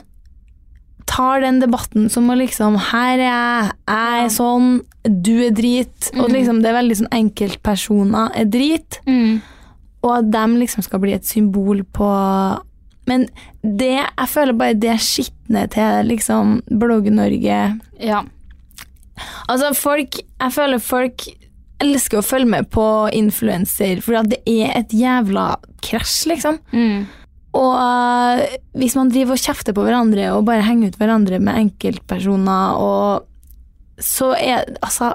Speaker 1: tar den debatten som å liksom Her er jeg, jeg er sånn, du er drit. Og
Speaker 2: Mhm.
Speaker 1: liksom det er veldig sånn enkeltpersoner er drit,
Speaker 2: Mm.
Speaker 1: og at dem liksom skal bli et symbol på Men det Jeg føler bare det skitner til liksom Blogg-Norge
Speaker 2: Ja.
Speaker 1: Altså, folk Jeg føler folk elsker å følge med på influenser, for at det er et jævla krasj, liksom.
Speaker 2: Mm.
Speaker 1: Og øh, hvis man driver og kjefter på hverandre og bare henger ut hverandre med enkeltpersoner og så er Altså,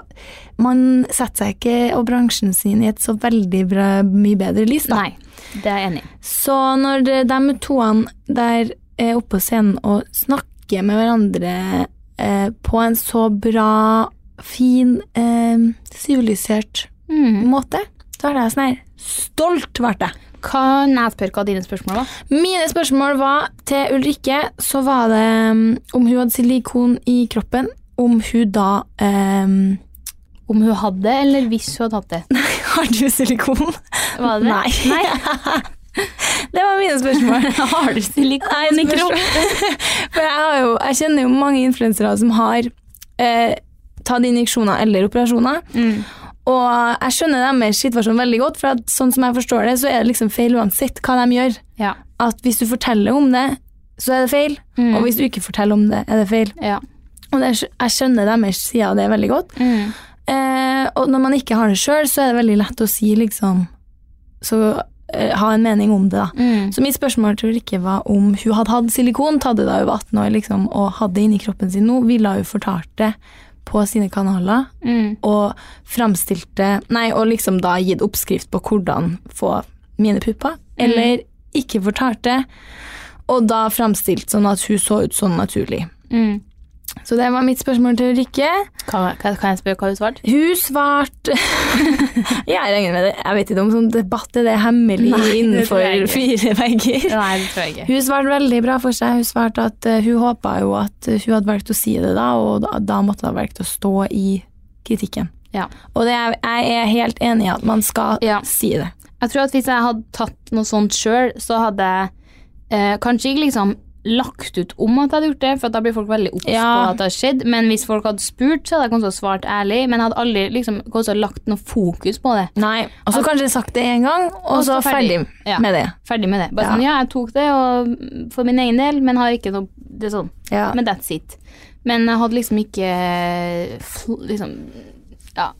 Speaker 1: man setter seg ikke og bransjen sin i et så veldig bra, mye bedre lys, da.
Speaker 2: Nei. Det er jeg enig i.
Speaker 1: Så når de, de toene der er oppe på scenen og snakker med hverandre eh, på en så bra, fin, eh, sivilisert
Speaker 2: Mm.
Speaker 1: måte, så er det sånn her Stolt ble jeg!
Speaker 2: Kan jeg spørre hva dine spørsmål var?
Speaker 1: Mine spørsmål var til Ulrikke, så var det mm, om hun hadde silikon i kroppen, om hun da eh,
Speaker 2: Om hun hadde, eller hvis hun hadde hatt det?
Speaker 1: Har du silikon?
Speaker 2: Var det det?
Speaker 1: Nei.
Speaker 2: Nei.
Speaker 1: Det var mine spørsmål.
Speaker 2: Har du silikon
Speaker 1: Nei, spørsmål. For jeg, har jo, jeg kjenner jo mange influensere som har eh, tatt injeksjoner eller operasjoner.
Speaker 2: Mm.
Speaker 1: Og jeg skjønner deres situasjon veldig godt, for at, sånn som jeg forstår det, så er det liksom feil uansett hva de gjør.
Speaker 2: Ja.
Speaker 1: At hvis du forteller om det, så er det feil.
Speaker 2: Mm.
Speaker 1: Og hvis du ikke forteller om det, er det feil.
Speaker 2: ja.
Speaker 1: Og det, er- jeg skjønner deres side av det veldig godt.
Speaker 2: Mm.
Speaker 1: Eh, og når man ikke har det sjøl, så er det veldig lett å si liksom Så eh, ha en mening om det, da.
Speaker 2: Mm.
Speaker 1: Så mitt spørsmål tror jeg ikke var om hun hadde hatt silikon, tatt det da hun var 18 år liksom, og hadde det inni kroppen sin nå, ville hun fortalt det på sine kanaler
Speaker 2: Mm.
Speaker 1: og fremstilte, nei, og liksom da gitt oppskrift på hvordan få mine pupper, eller ikke fortalt det, og da fremstilt sånn at hun så ut sånn naturlig.
Speaker 2: Mm.
Speaker 1: Så det var mitt spørsmål til Rikke.
Speaker 2: Kan, kan kan jeg spørre hva du svarte?
Speaker 1: Hun svarte Jeg regner med det. Jeg vet ikke om sånn debatt er det hemmelig
Speaker 2: Nei, det tror
Speaker 1: innenfor
Speaker 2: jeg
Speaker 1: fire vegger.
Speaker 2: Nei, det tror jeg ikke.
Speaker 1: Hun svarte veldig bra for seg. Hun svarte at eh, hun håpa jo at eh, hun hadde valgt å si det da, og da, da måtte hun ha valgt å stå i kritikken.
Speaker 2: Ja.
Speaker 1: Og det er, jeg er helt enig i at man skal
Speaker 2: Ja.
Speaker 1: si det.
Speaker 2: Jeg tror at hvis jeg hadde tatt noe sånt sjøl, så hadde jeg eh, kanskje ikke liksom lagt ut om at jeg hadde gjort det, for at da blir folk veldig obs på
Speaker 1: Ja.
Speaker 2: at det har skjedd. Men hvis folk hadde spurt, så hadde jeg kanskje svart ærlig, men jeg hadde aldri liksom, kanskje lagt noe fokus på det.
Speaker 1: Nei. Og så
Speaker 2: altså-
Speaker 1: kanskje sagt det én gang, og, så ferdig,
Speaker 2: Ja.
Speaker 1: med det.
Speaker 2: Ferdig med det. Bare
Speaker 1: Ja.
Speaker 2: sånn, ja, jeg tok det og, for min egen del, men har ikke noe Det er sånn.
Speaker 1: Ja.
Speaker 2: Men that's it. Men jeg hadde liksom ikke fl- liksom, ja,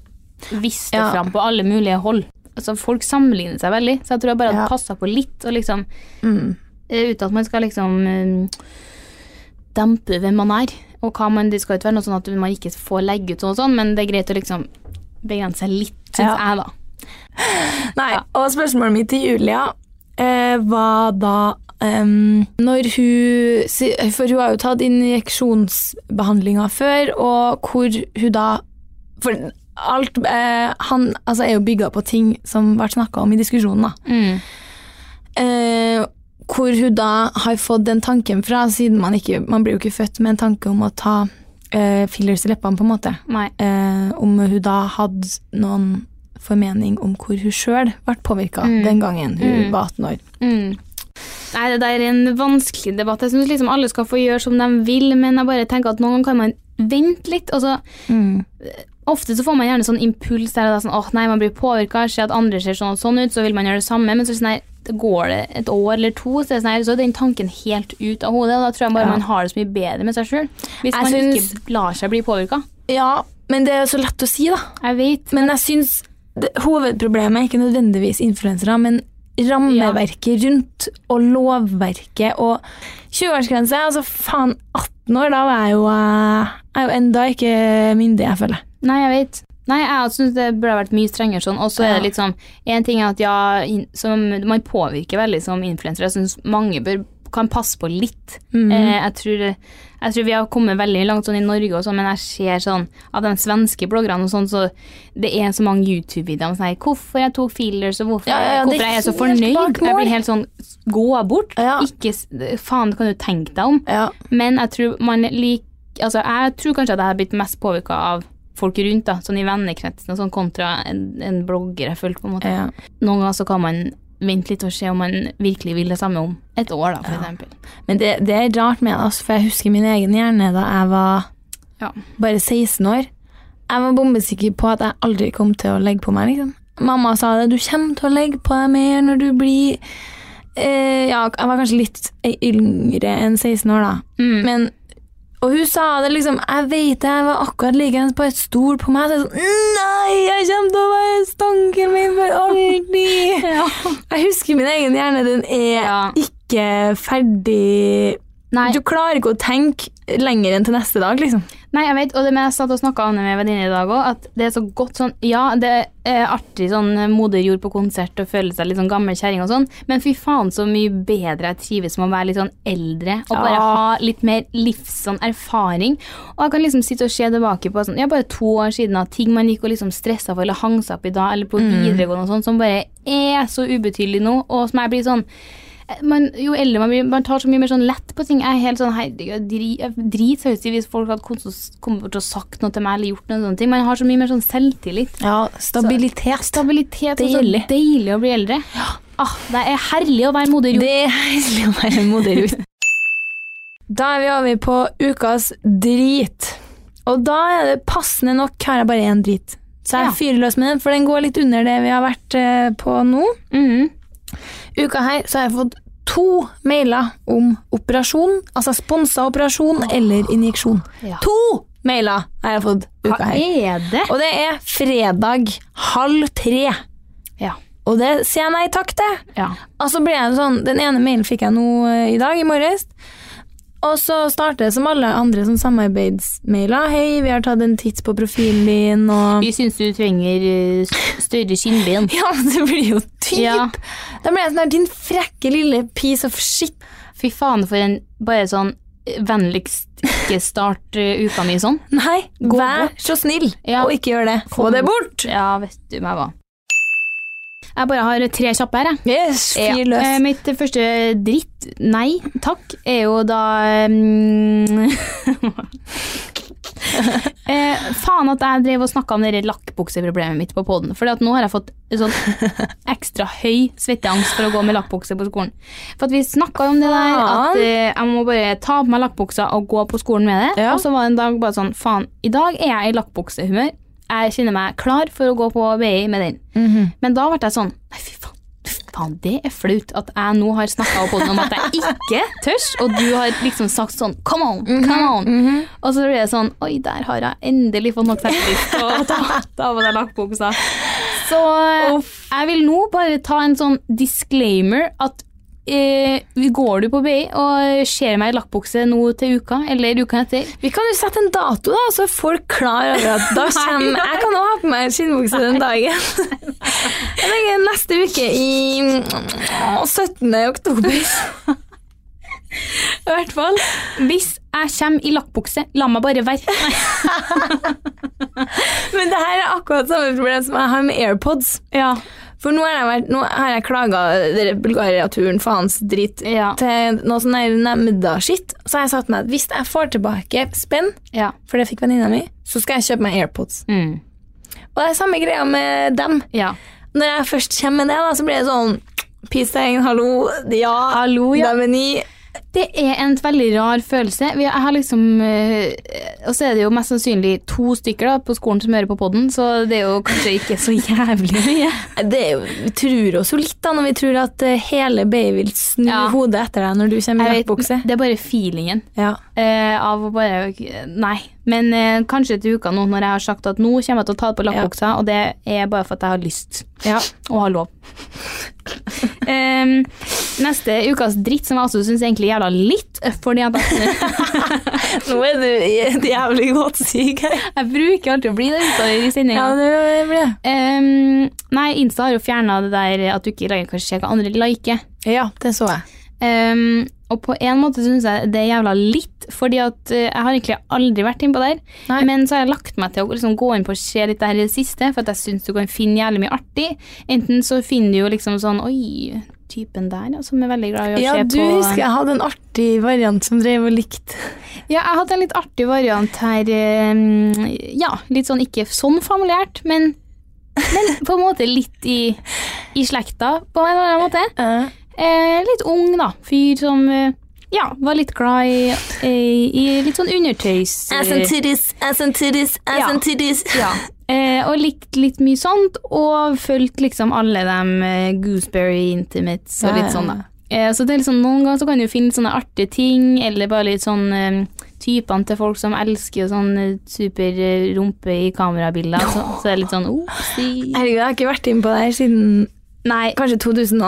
Speaker 2: vist det
Speaker 1: Ja.
Speaker 2: fram på alle mulige hold. Altså, folk sammenligner seg veldig, så jeg tror jeg bare hadde
Speaker 1: Ja.
Speaker 2: passet passa på litt. Og liksom,
Speaker 1: Mm.
Speaker 2: eh, uten at man skal liksom eh, dempe hvem man er. Og hva man, det skal jo ikke være noe sånn at man ikke får legge ut sånn og sånn, men det er greit å liksom begrense seg litt, syns
Speaker 1: Ja.
Speaker 2: jeg, da.
Speaker 1: Nei, og spørsmålet mitt til Julia eh, var da ehm, når hun si- For hun har jo tatt injeksjonsbehandlinga før, og hvor hun da For alt eh, Han altså, er jo bygga på ting som ble snakka om i diskusjonen, da.
Speaker 2: Mm.
Speaker 1: Eh, hvor hun da har fått den tanken fra, siden man ikke Man blir jo ikke født med en tanke om å ta eh, fillers i leppene, på en måte.
Speaker 2: Nei.
Speaker 1: Eh, om hun da hadde noen formening om hvor hun sjøl ble påvirka
Speaker 2: Mm.
Speaker 1: den gangen hun
Speaker 2: Mm.
Speaker 1: var 18 år.
Speaker 2: Mm. Nei, det der er en vanskelig debatt. Jeg syns liksom alle skal få gjøre som de vil, men jeg bare tenker at noen ganger kan man vente litt. Altså, ofte så får man gjerne sånn impuls der og da, sånn, åh nei, man blir påvirka, ser at andre ser sånn og sånn ut, så vil man gjøre det samme, men så er det sånn her, det går det et år eller to, så er, det sånn her, så er den tanken helt ut av hodet, og da tror jeg bare
Speaker 1: Ja.
Speaker 2: man har det så mye bedre med seg sjøl. Hvis
Speaker 1: Jeg
Speaker 2: man
Speaker 1: syns-
Speaker 2: ikke lar seg bli påvirka.
Speaker 1: Ja, men det er jo så lett å si, da.
Speaker 2: Jeg vet.
Speaker 1: Men jeg syns det- hovedproblemet er ikke nødvendigvis influensere, men rammeverket rundt, og lovverket og 20-årsgrense. Altså, faen, 18 år, da var jeg jo, eh, jeg er jo enda ikke myndig, jeg føler.
Speaker 2: Nei, jeg vet. Nei, jeg syns det burde ha vært mye strengere sånn. Og så er det liksom En ting er at ja, in- som man påvirker veldig som influensere. Jeg syns mange bør, kan passe på litt.
Speaker 1: Mhm.
Speaker 2: Eh, jeg, tror, jeg tror vi har kommet veldig langt sånn i Norge og sånn, men jeg ser sånn av de svenske bloggerne og sånn, så det er så mange YouTube-videoer om sånn her, hvorfor jeg tok fillers, og hvorfor,
Speaker 1: Ja, ja, ja, det er
Speaker 2: hvorfor jeg er så
Speaker 1: helt bak
Speaker 2: fornøyd.
Speaker 1: mål.
Speaker 2: Jeg blir helt sånn Gå bort.
Speaker 1: Ja.
Speaker 2: Ikke s- Faen, kan du tenke deg om?
Speaker 1: Ja.
Speaker 2: Men jeg tror man lik, altså jeg tror kanskje at jeg har blitt mest påvirka av folk rundt, da, sånn i vennekretsen og sånn, kontra en, en blogger jeg fulgte, på en måte.
Speaker 1: ja.
Speaker 2: Noen ganger så kan man vente litt og se om man virkelig vil det samme om et år, da, for
Speaker 1: Ja.
Speaker 2: eksempel.
Speaker 1: Men det, det er rart med det, altså, for jeg husker min egen hjerne da jeg var
Speaker 2: Ja.
Speaker 1: bare 16 år. Jeg var bombesikker på at jeg aldri kom til å legge på meg. Liksom. Mamma sa det, du kommer til å legge på deg mer når du blir eh, Ja, jeg var kanskje litt yngre enn 16 år, da.
Speaker 2: Mm.
Speaker 1: Men, og hun sa det liksom Jeg vet det, jeg var akkurat likeens på et stol på meg. Så jeg sånn Nei, jeg kommer til å være stanken min for alltid! Jeg husker min egen hjerne. Den er
Speaker 2: Ja.
Speaker 1: ikke ferdig
Speaker 2: Nei,
Speaker 1: Du klarer ikke å tenke lenger enn til neste dag, liksom.
Speaker 2: nei, jeg vet, og det med jeg satt og snakka med en venninne i dag òg, at det er så godt sånn Ja, det er artig sånn moderjord på konsert og føle seg litt sånn gammel kjerring og sånn, men fy faen så mye bedre jeg trives med å være litt sånn eldre og bare
Speaker 1: Ja.
Speaker 2: ha litt mer livs sånn erfaring. Og jeg kan liksom sitte og se tilbake på sånn, ja, bare to år siden at ting man gikk og liksom stressa for eller hang seg opp i da, eller på
Speaker 1: Mm.
Speaker 2: videregående og sånn, som bare er så ubetydelig nå, og som jeg blir sånn man, jo eldre man blir, man tar så mye mer sånn lett på ting. Jeg er helt sånn herregud, dri- jeg dritseriøst i hvis folk hadde kommet og- kommet bort og sagt noe til meg eller gjort noe sånne ting. Man har så mye mer sånn selvtillit.
Speaker 1: Ja, stabilitet.
Speaker 2: Stabilitet og så
Speaker 1: Deilig.
Speaker 2: deilig å bli eldre. Ah, det er herlig å være moder jord.
Speaker 1: Det er herlig å være moderut. Da er vi over på ukas drit. Og da er det passende nok her er bare én drit. Så jeg
Speaker 2: Ja.
Speaker 1: fyrer løs med den, for den går litt under det vi har vært eh, på nå.
Speaker 2: Mhm.
Speaker 1: Uka her så har jeg fått to mailer om operasjon, altså sponsa operasjon eller injeksjon.
Speaker 2: Ja.
Speaker 1: To mailer har jeg fått
Speaker 2: Hva
Speaker 1: uka her.
Speaker 2: er det?
Speaker 1: Og det er fredag halv tre.
Speaker 2: Ja.
Speaker 1: Og det sier jeg nei takk til.
Speaker 2: ja.
Speaker 1: Og så ble jeg sånn, Den ene mailen fikk jeg nå eh, i dag, i morges. Og så starter det som alle andre sånn samarbeidsmailer. 'Hei, vi har tatt en titt på profilen din', og
Speaker 2: Vi syns du trenger eh, s- større skinnben.
Speaker 1: Ja, men det blir jo typ!
Speaker 2: Ja.
Speaker 1: Da ble jeg sånn her 'Din frekke lille piece of shit'.
Speaker 2: Fy faen, for en bare sånn eh, vennligst ikke start eh, uka mi sånn.
Speaker 1: Nei,
Speaker 2: Gå
Speaker 1: vær
Speaker 2: bort.
Speaker 1: så snill
Speaker 2: Ja.
Speaker 1: og ikke gjør det. Få
Speaker 2: Kom.
Speaker 1: det bort!
Speaker 2: Ja, vet du meg hva. Jeg bare har tre kjappe her, jeg.
Speaker 1: Yes,
Speaker 2: Ja.
Speaker 1: fyr løs.
Speaker 2: Eh, mitt første dritt, nei takk, er jo da mm, eh, Faen at jeg drev og snakka om det der lakkbukseproblemet mitt på poden. For nå har jeg fått en sånn ekstra høy svetteangst for å gå med lakkbukse på skolen. For at vi snakka om det der at eh, jeg må bare ta på meg lakkbuksa og gå på skolen med det.
Speaker 1: Ja.
Speaker 2: Og så var det en dag bare sånn Faen, i dag er jeg i lakkbuksehumør. Jeg kjenner meg klar for å gå på BI med den.
Speaker 1: Mhm.
Speaker 2: Men da ble jeg sånn Nei, fy faen. fy Faen, det er flaut at jeg nå har snakka på den om at jeg ikke tør, og du har liksom sagt sånn Come on, come on. Og så blir det sånn Oi, der har jeg endelig fått nok selvtillit på å ta ta på deg lakkbuksa. Så jeg vil nå bare ta en sånn disclaimer at eh, går du på BI og ser meg i lakkbukse nå til uka, eller uka etter
Speaker 1: Vi kan jo sette en dato, da, så er folk klar over at da kommer Jeg kan også ha på meg skinnbukse den dagen. Jeg tenker neste uke i mm, 17. oktober.
Speaker 2: I hvert fall, hvis jeg kommer i lakkbukse, la meg bare være. Nei.
Speaker 1: Men det her er akkurat samme problem som jeg har med AirPods.
Speaker 2: Ja.
Speaker 1: For nå har jeg, vært, nå har jeg klaga dere Bulgaria-turen, faens drit,
Speaker 2: Ja.
Speaker 1: til noe sånn der nemnda-skitt. Så har jeg sagt meg at hvis jeg får tilbake spenn,
Speaker 2: ja.
Speaker 1: for det fikk venninna mi, så skal jeg kjøpe meg AirPods.
Speaker 2: Mm.
Speaker 1: Og det er samme greia med dem.
Speaker 2: ja.
Speaker 1: Når jeg først kommer med det, da, så blir det sånn Peace tegn, hallo, ja,
Speaker 2: Hallo, ja.
Speaker 1: dem er ni.
Speaker 2: Det er en veldig rar følelse. Vi- Jeg har liksom eh, Og så er det jo mest sannsynlig to stykker da, på skolen som hører på podden, så det er jo kanskje ikke så jævlig mye.
Speaker 1: Det er jo, vi tror oss jo litt da, når vi tror at eh, hele Bay vil snu
Speaker 2: Ja.
Speaker 1: hodet etter deg når du kommer i
Speaker 2: Jeg
Speaker 1: jakkebukse.
Speaker 2: vet, det er bare feelingen
Speaker 1: Ja.
Speaker 2: eh, av å bare Nei. Men eh, kanskje til uka nå, når jeg har sagt at nå kommer jeg til å ta det på lakkbuksa, og det er bare for at jeg har lyst.
Speaker 1: ja.
Speaker 2: Og har lov. Em, neste ukas dritt, som jeg også syns egentlig jævla litt, eh, fordi at jeg
Speaker 1: Nå er du i- jævlig godt syk her.
Speaker 2: Jeg bruker alltid å bli det utover i sendinga.
Speaker 1: Ja, det blir det.
Speaker 2: Ehm, nei, Insta har jo fjerna det der at du ikke lenger kan se hva andre liker.
Speaker 1: Ja, det så jeg.
Speaker 2: Ehm, og på en måte syns jeg det er jævla litt, fordi at eh, jeg har egentlig aldri vært innpå der.
Speaker 1: Nei.
Speaker 2: Men så har jeg lagt meg til å liksom gå inn på og se litt det her i det siste, for at jeg syns du kan finne jævlig mye artig. Enten så finner du jo liksom sånn Oi, typen der, ja, som er veldig glad i å
Speaker 1: Ja,
Speaker 2: se
Speaker 1: du
Speaker 2: på
Speaker 1: husker jeg hadde en artig variant som drev og likte.
Speaker 2: Ja, jeg hadde en litt artig variant her. ehm, ja, litt sånn ikke sånn familiært, men, men på en måte litt i, i slekta, på en eller annen måte. eh, litt ung, da. Fyr som eh, ja, var litt glad i, eh, i litt sånn undertøys. eh,
Speaker 1: titties, ass and titties,
Speaker 2: Ja.
Speaker 1: titties.
Speaker 2: ja. eh, og likte litt mye sånt, og fulgte liksom alle de eh, Gooseberry Intimates og
Speaker 1: Ja,
Speaker 2: litt
Speaker 1: ja,
Speaker 2: sånn, da. Eh, så det er liksom, noen ganger så kan du finne litt sånne artige ting, eller bare litt sånn eh, typene til folk som elsker sånn eh, super eh, rumpe i kamerabilder. Så, så er det litt sånn opsi.
Speaker 1: Herregud, jeg har ikke vært inne på det her siden
Speaker 2: Nei,
Speaker 1: kanskje 2016,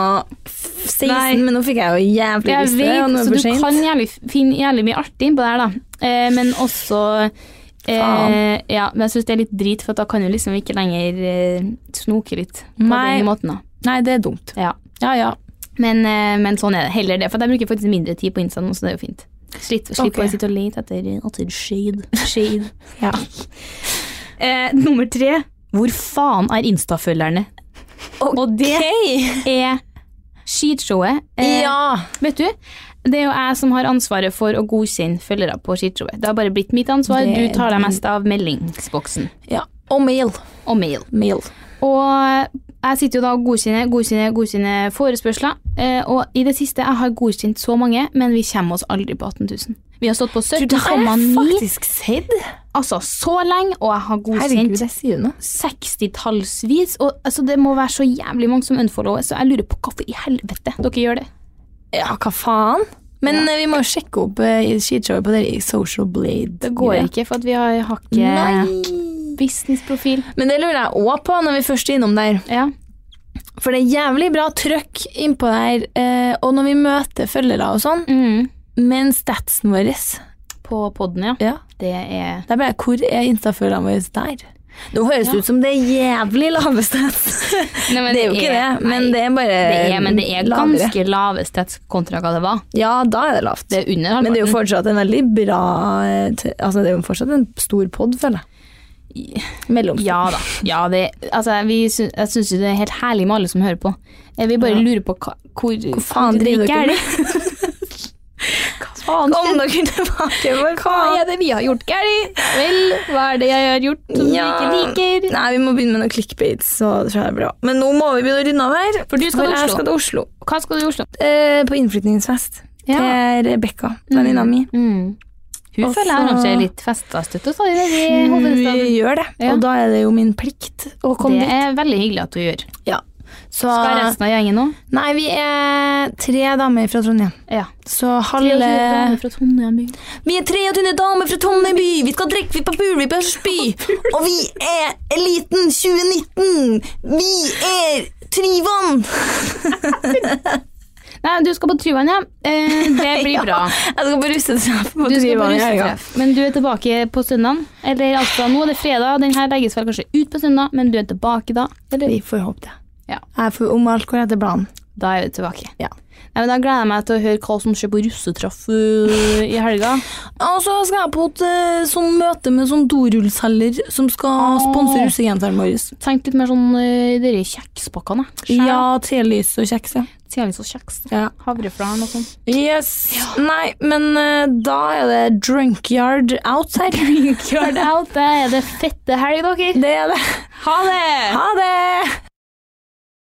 Speaker 2: Nei.
Speaker 1: men nå fikk jeg jo jævlig
Speaker 2: Jeg
Speaker 1: lyst til det, og nå
Speaker 2: vet,
Speaker 1: er det
Speaker 2: så du
Speaker 1: for sent.
Speaker 2: kan jævlig, finne jævlig mye artig innpå der, da. Eh, men også eh,
Speaker 1: Faen.
Speaker 2: Ja, men jeg syns det er litt drit, for at da kan du liksom ikke lenger eh, snoke litt på
Speaker 1: Nei.
Speaker 2: den måten, da.
Speaker 1: Nei, det er dumt.
Speaker 2: Ja.
Speaker 1: Ja, ja.
Speaker 2: Men, eh, men sånn er det. Heller det. For jeg bruker faktisk mindre tid på Insta nå, så det er jo fint. Slipp, slipp
Speaker 1: Ok.
Speaker 2: å sitte og lete etter, etter shade. shade.
Speaker 1: Ja.
Speaker 2: Eh, nummer tre. Hvor faen er Insta-følgerne? Og det
Speaker 1: eh,
Speaker 2: er skitshowet. Eh,
Speaker 1: Ja.
Speaker 2: Vet du, det er jo jeg som har ansvaret for å godkjenne følgere på skishowet. Det har bare blitt mitt ansvar.
Speaker 1: Det-
Speaker 2: Du tar deg mest av meldingsboksen
Speaker 1: ja. Og mail.
Speaker 2: og mail.
Speaker 1: Mail.
Speaker 2: Og jeg sitter jo da og godkjenner, godkjenner, godkjenner forespørsler. Eh, og i det siste, jeg har godkjent så mange, men vi kommer oss aldri på 18 000. Vi har stått på
Speaker 1: Du, det har jeg
Speaker 2: 17,9,
Speaker 1: faktisk sett.
Speaker 2: altså så lenge, og jeg har godkjent
Speaker 1: Herregud, jeg sier det nå.
Speaker 2: 60-tallsvis. Og altså, det må være så jævlig mange som unfollower, så jeg lurer på hvorfor i helvete dere gjør det.
Speaker 1: Ja, hva faen? Men eh, vi må jo sjekke opp eh, i skishowet på det i Social Blade.
Speaker 2: Det går ikke, for at vi har har ikke
Speaker 1: Nei.
Speaker 2: businessprofil.
Speaker 1: Men det lurer jeg òg på når vi først er innom der.
Speaker 2: Ja.
Speaker 1: For det er jævlig bra trøkk innpå der, eh, og når vi møter følgere og sånn,
Speaker 2: Mm.
Speaker 1: men statsen vår
Speaker 2: På podden, ja.
Speaker 1: ja,
Speaker 2: Det er
Speaker 1: der ble jeg, Hvor er Insta-følgerne våre der? Nå høres det ut som det er jævlig lave stats.
Speaker 2: Nei, men
Speaker 1: det er jo ikke det, men det er bare
Speaker 2: det er, Men det er
Speaker 1: lavere.
Speaker 2: ganske lave stats kontra hva det var.
Speaker 1: Ja, da er det lavt.
Speaker 2: Det er under halvparten.
Speaker 1: men det er jo fortsatt en veldig bra eh, t- Altså, det er jo fortsatt en stor pod, føler jeg. Mellomstor.
Speaker 2: Ja da. Ja, det, altså, vi, sy- jeg syns det er helt herlig med alle som hører på. Jeg vil bare
Speaker 1: Ja.
Speaker 2: lure på hva, hvor, hvor
Speaker 1: faen driver dere med?
Speaker 2: faen
Speaker 1: Kom dere tilbake, for
Speaker 2: Hva
Speaker 1: faen!
Speaker 2: er det vi har gjort galt? Vel, hva er det jeg har gjort som
Speaker 1: Ja.
Speaker 2: du ikke liker?
Speaker 1: Nei, vi må begynne med noen clickbaits, så tror jeg det blir bra. Men nå må vi begynne å rydde av her.
Speaker 2: For du skal til
Speaker 1: jeg
Speaker 2: Oslo.
Speaker 1: skal til Oslo.
Speaker 2: Hva skal du i Oslo?
Speaker 1: Eh, på innflytningsfest til Rebekka, venninna mi.
Speaker 2: Mm. Hun
Speaker 1: Og
Speaker 2: føler jeg
Speaker 1: så-
Speaker 2: arrangerer litt fester støtt og stadig i
Speaker 1: Hun
Speaker 2: hovedstaden.
Speaker 1: gjør det,
Speaker 2: Ja.
Speaker 1: og da er det jo min plikt å komme
Speaker 2: Det
Speaker 1: dit.
Speaker 2: er veldig hyggelig at du gjør.
Speaker 1: Ja. Så
Speaker 2: Skal resten av gjengen nå?
Speaker 1: Nei, vi er tre damer fra Trondheim.
Speaker 2: Ja.
Speaker 1: Så halve Vi er 23 damer fra Trondheim by! Vi skal drikke, vi på pul, vi på spy! Og vi er eliten 2019! Vi er Tryvann!
Speaker 2: Nei, du skal på Tryvann, ja. Eh, det blir bra.
Speaker 1: Jeg skal på russetreff på
Speaker 2: Du skal på
Speaker 1: Tryvann i helga.
Speaker 2: russetreff, men du er tilbake på søndag. Eller altså, nå er det fredag, den her legges vel kanskje ut på søndag, men du er tilbake da. Eller?
Speaker 1: Vi får håpe det.
Speaker 2: Ja.
Speaker 1: Jeg får, om alt går etter planen.
Speaker 2: Da er vi tilbake.
Speaker 1: Ja.
Speaker 2: Nei, men da gleder jeg meg til å høre hva som skjer på russetraff øh, i helga.
Speaker 1: Og så skal jeg på et eh, sånn møte med sånn dorullselger som skal
Speaker 2: Åh.
Speaker 1: sponse russegenseren vår.
Speaker 2: Tenk litt mer sånn øh, dere kjekspakkene. jeg.
Speaker 1: Ja, telys og kjeks, ja.
Speaker 2: Sialis og kjeks.
Speaker 1: Ja.
Speaker 2: Havreflaren og sånn.
Speaker 1: Yes. Nei, men eh, da er det drunkyard out her.
Speaker 2: Drink your out. Da er det fette helg, dere.
Speaker 1: Det er det.
Speaker 2: Ha det!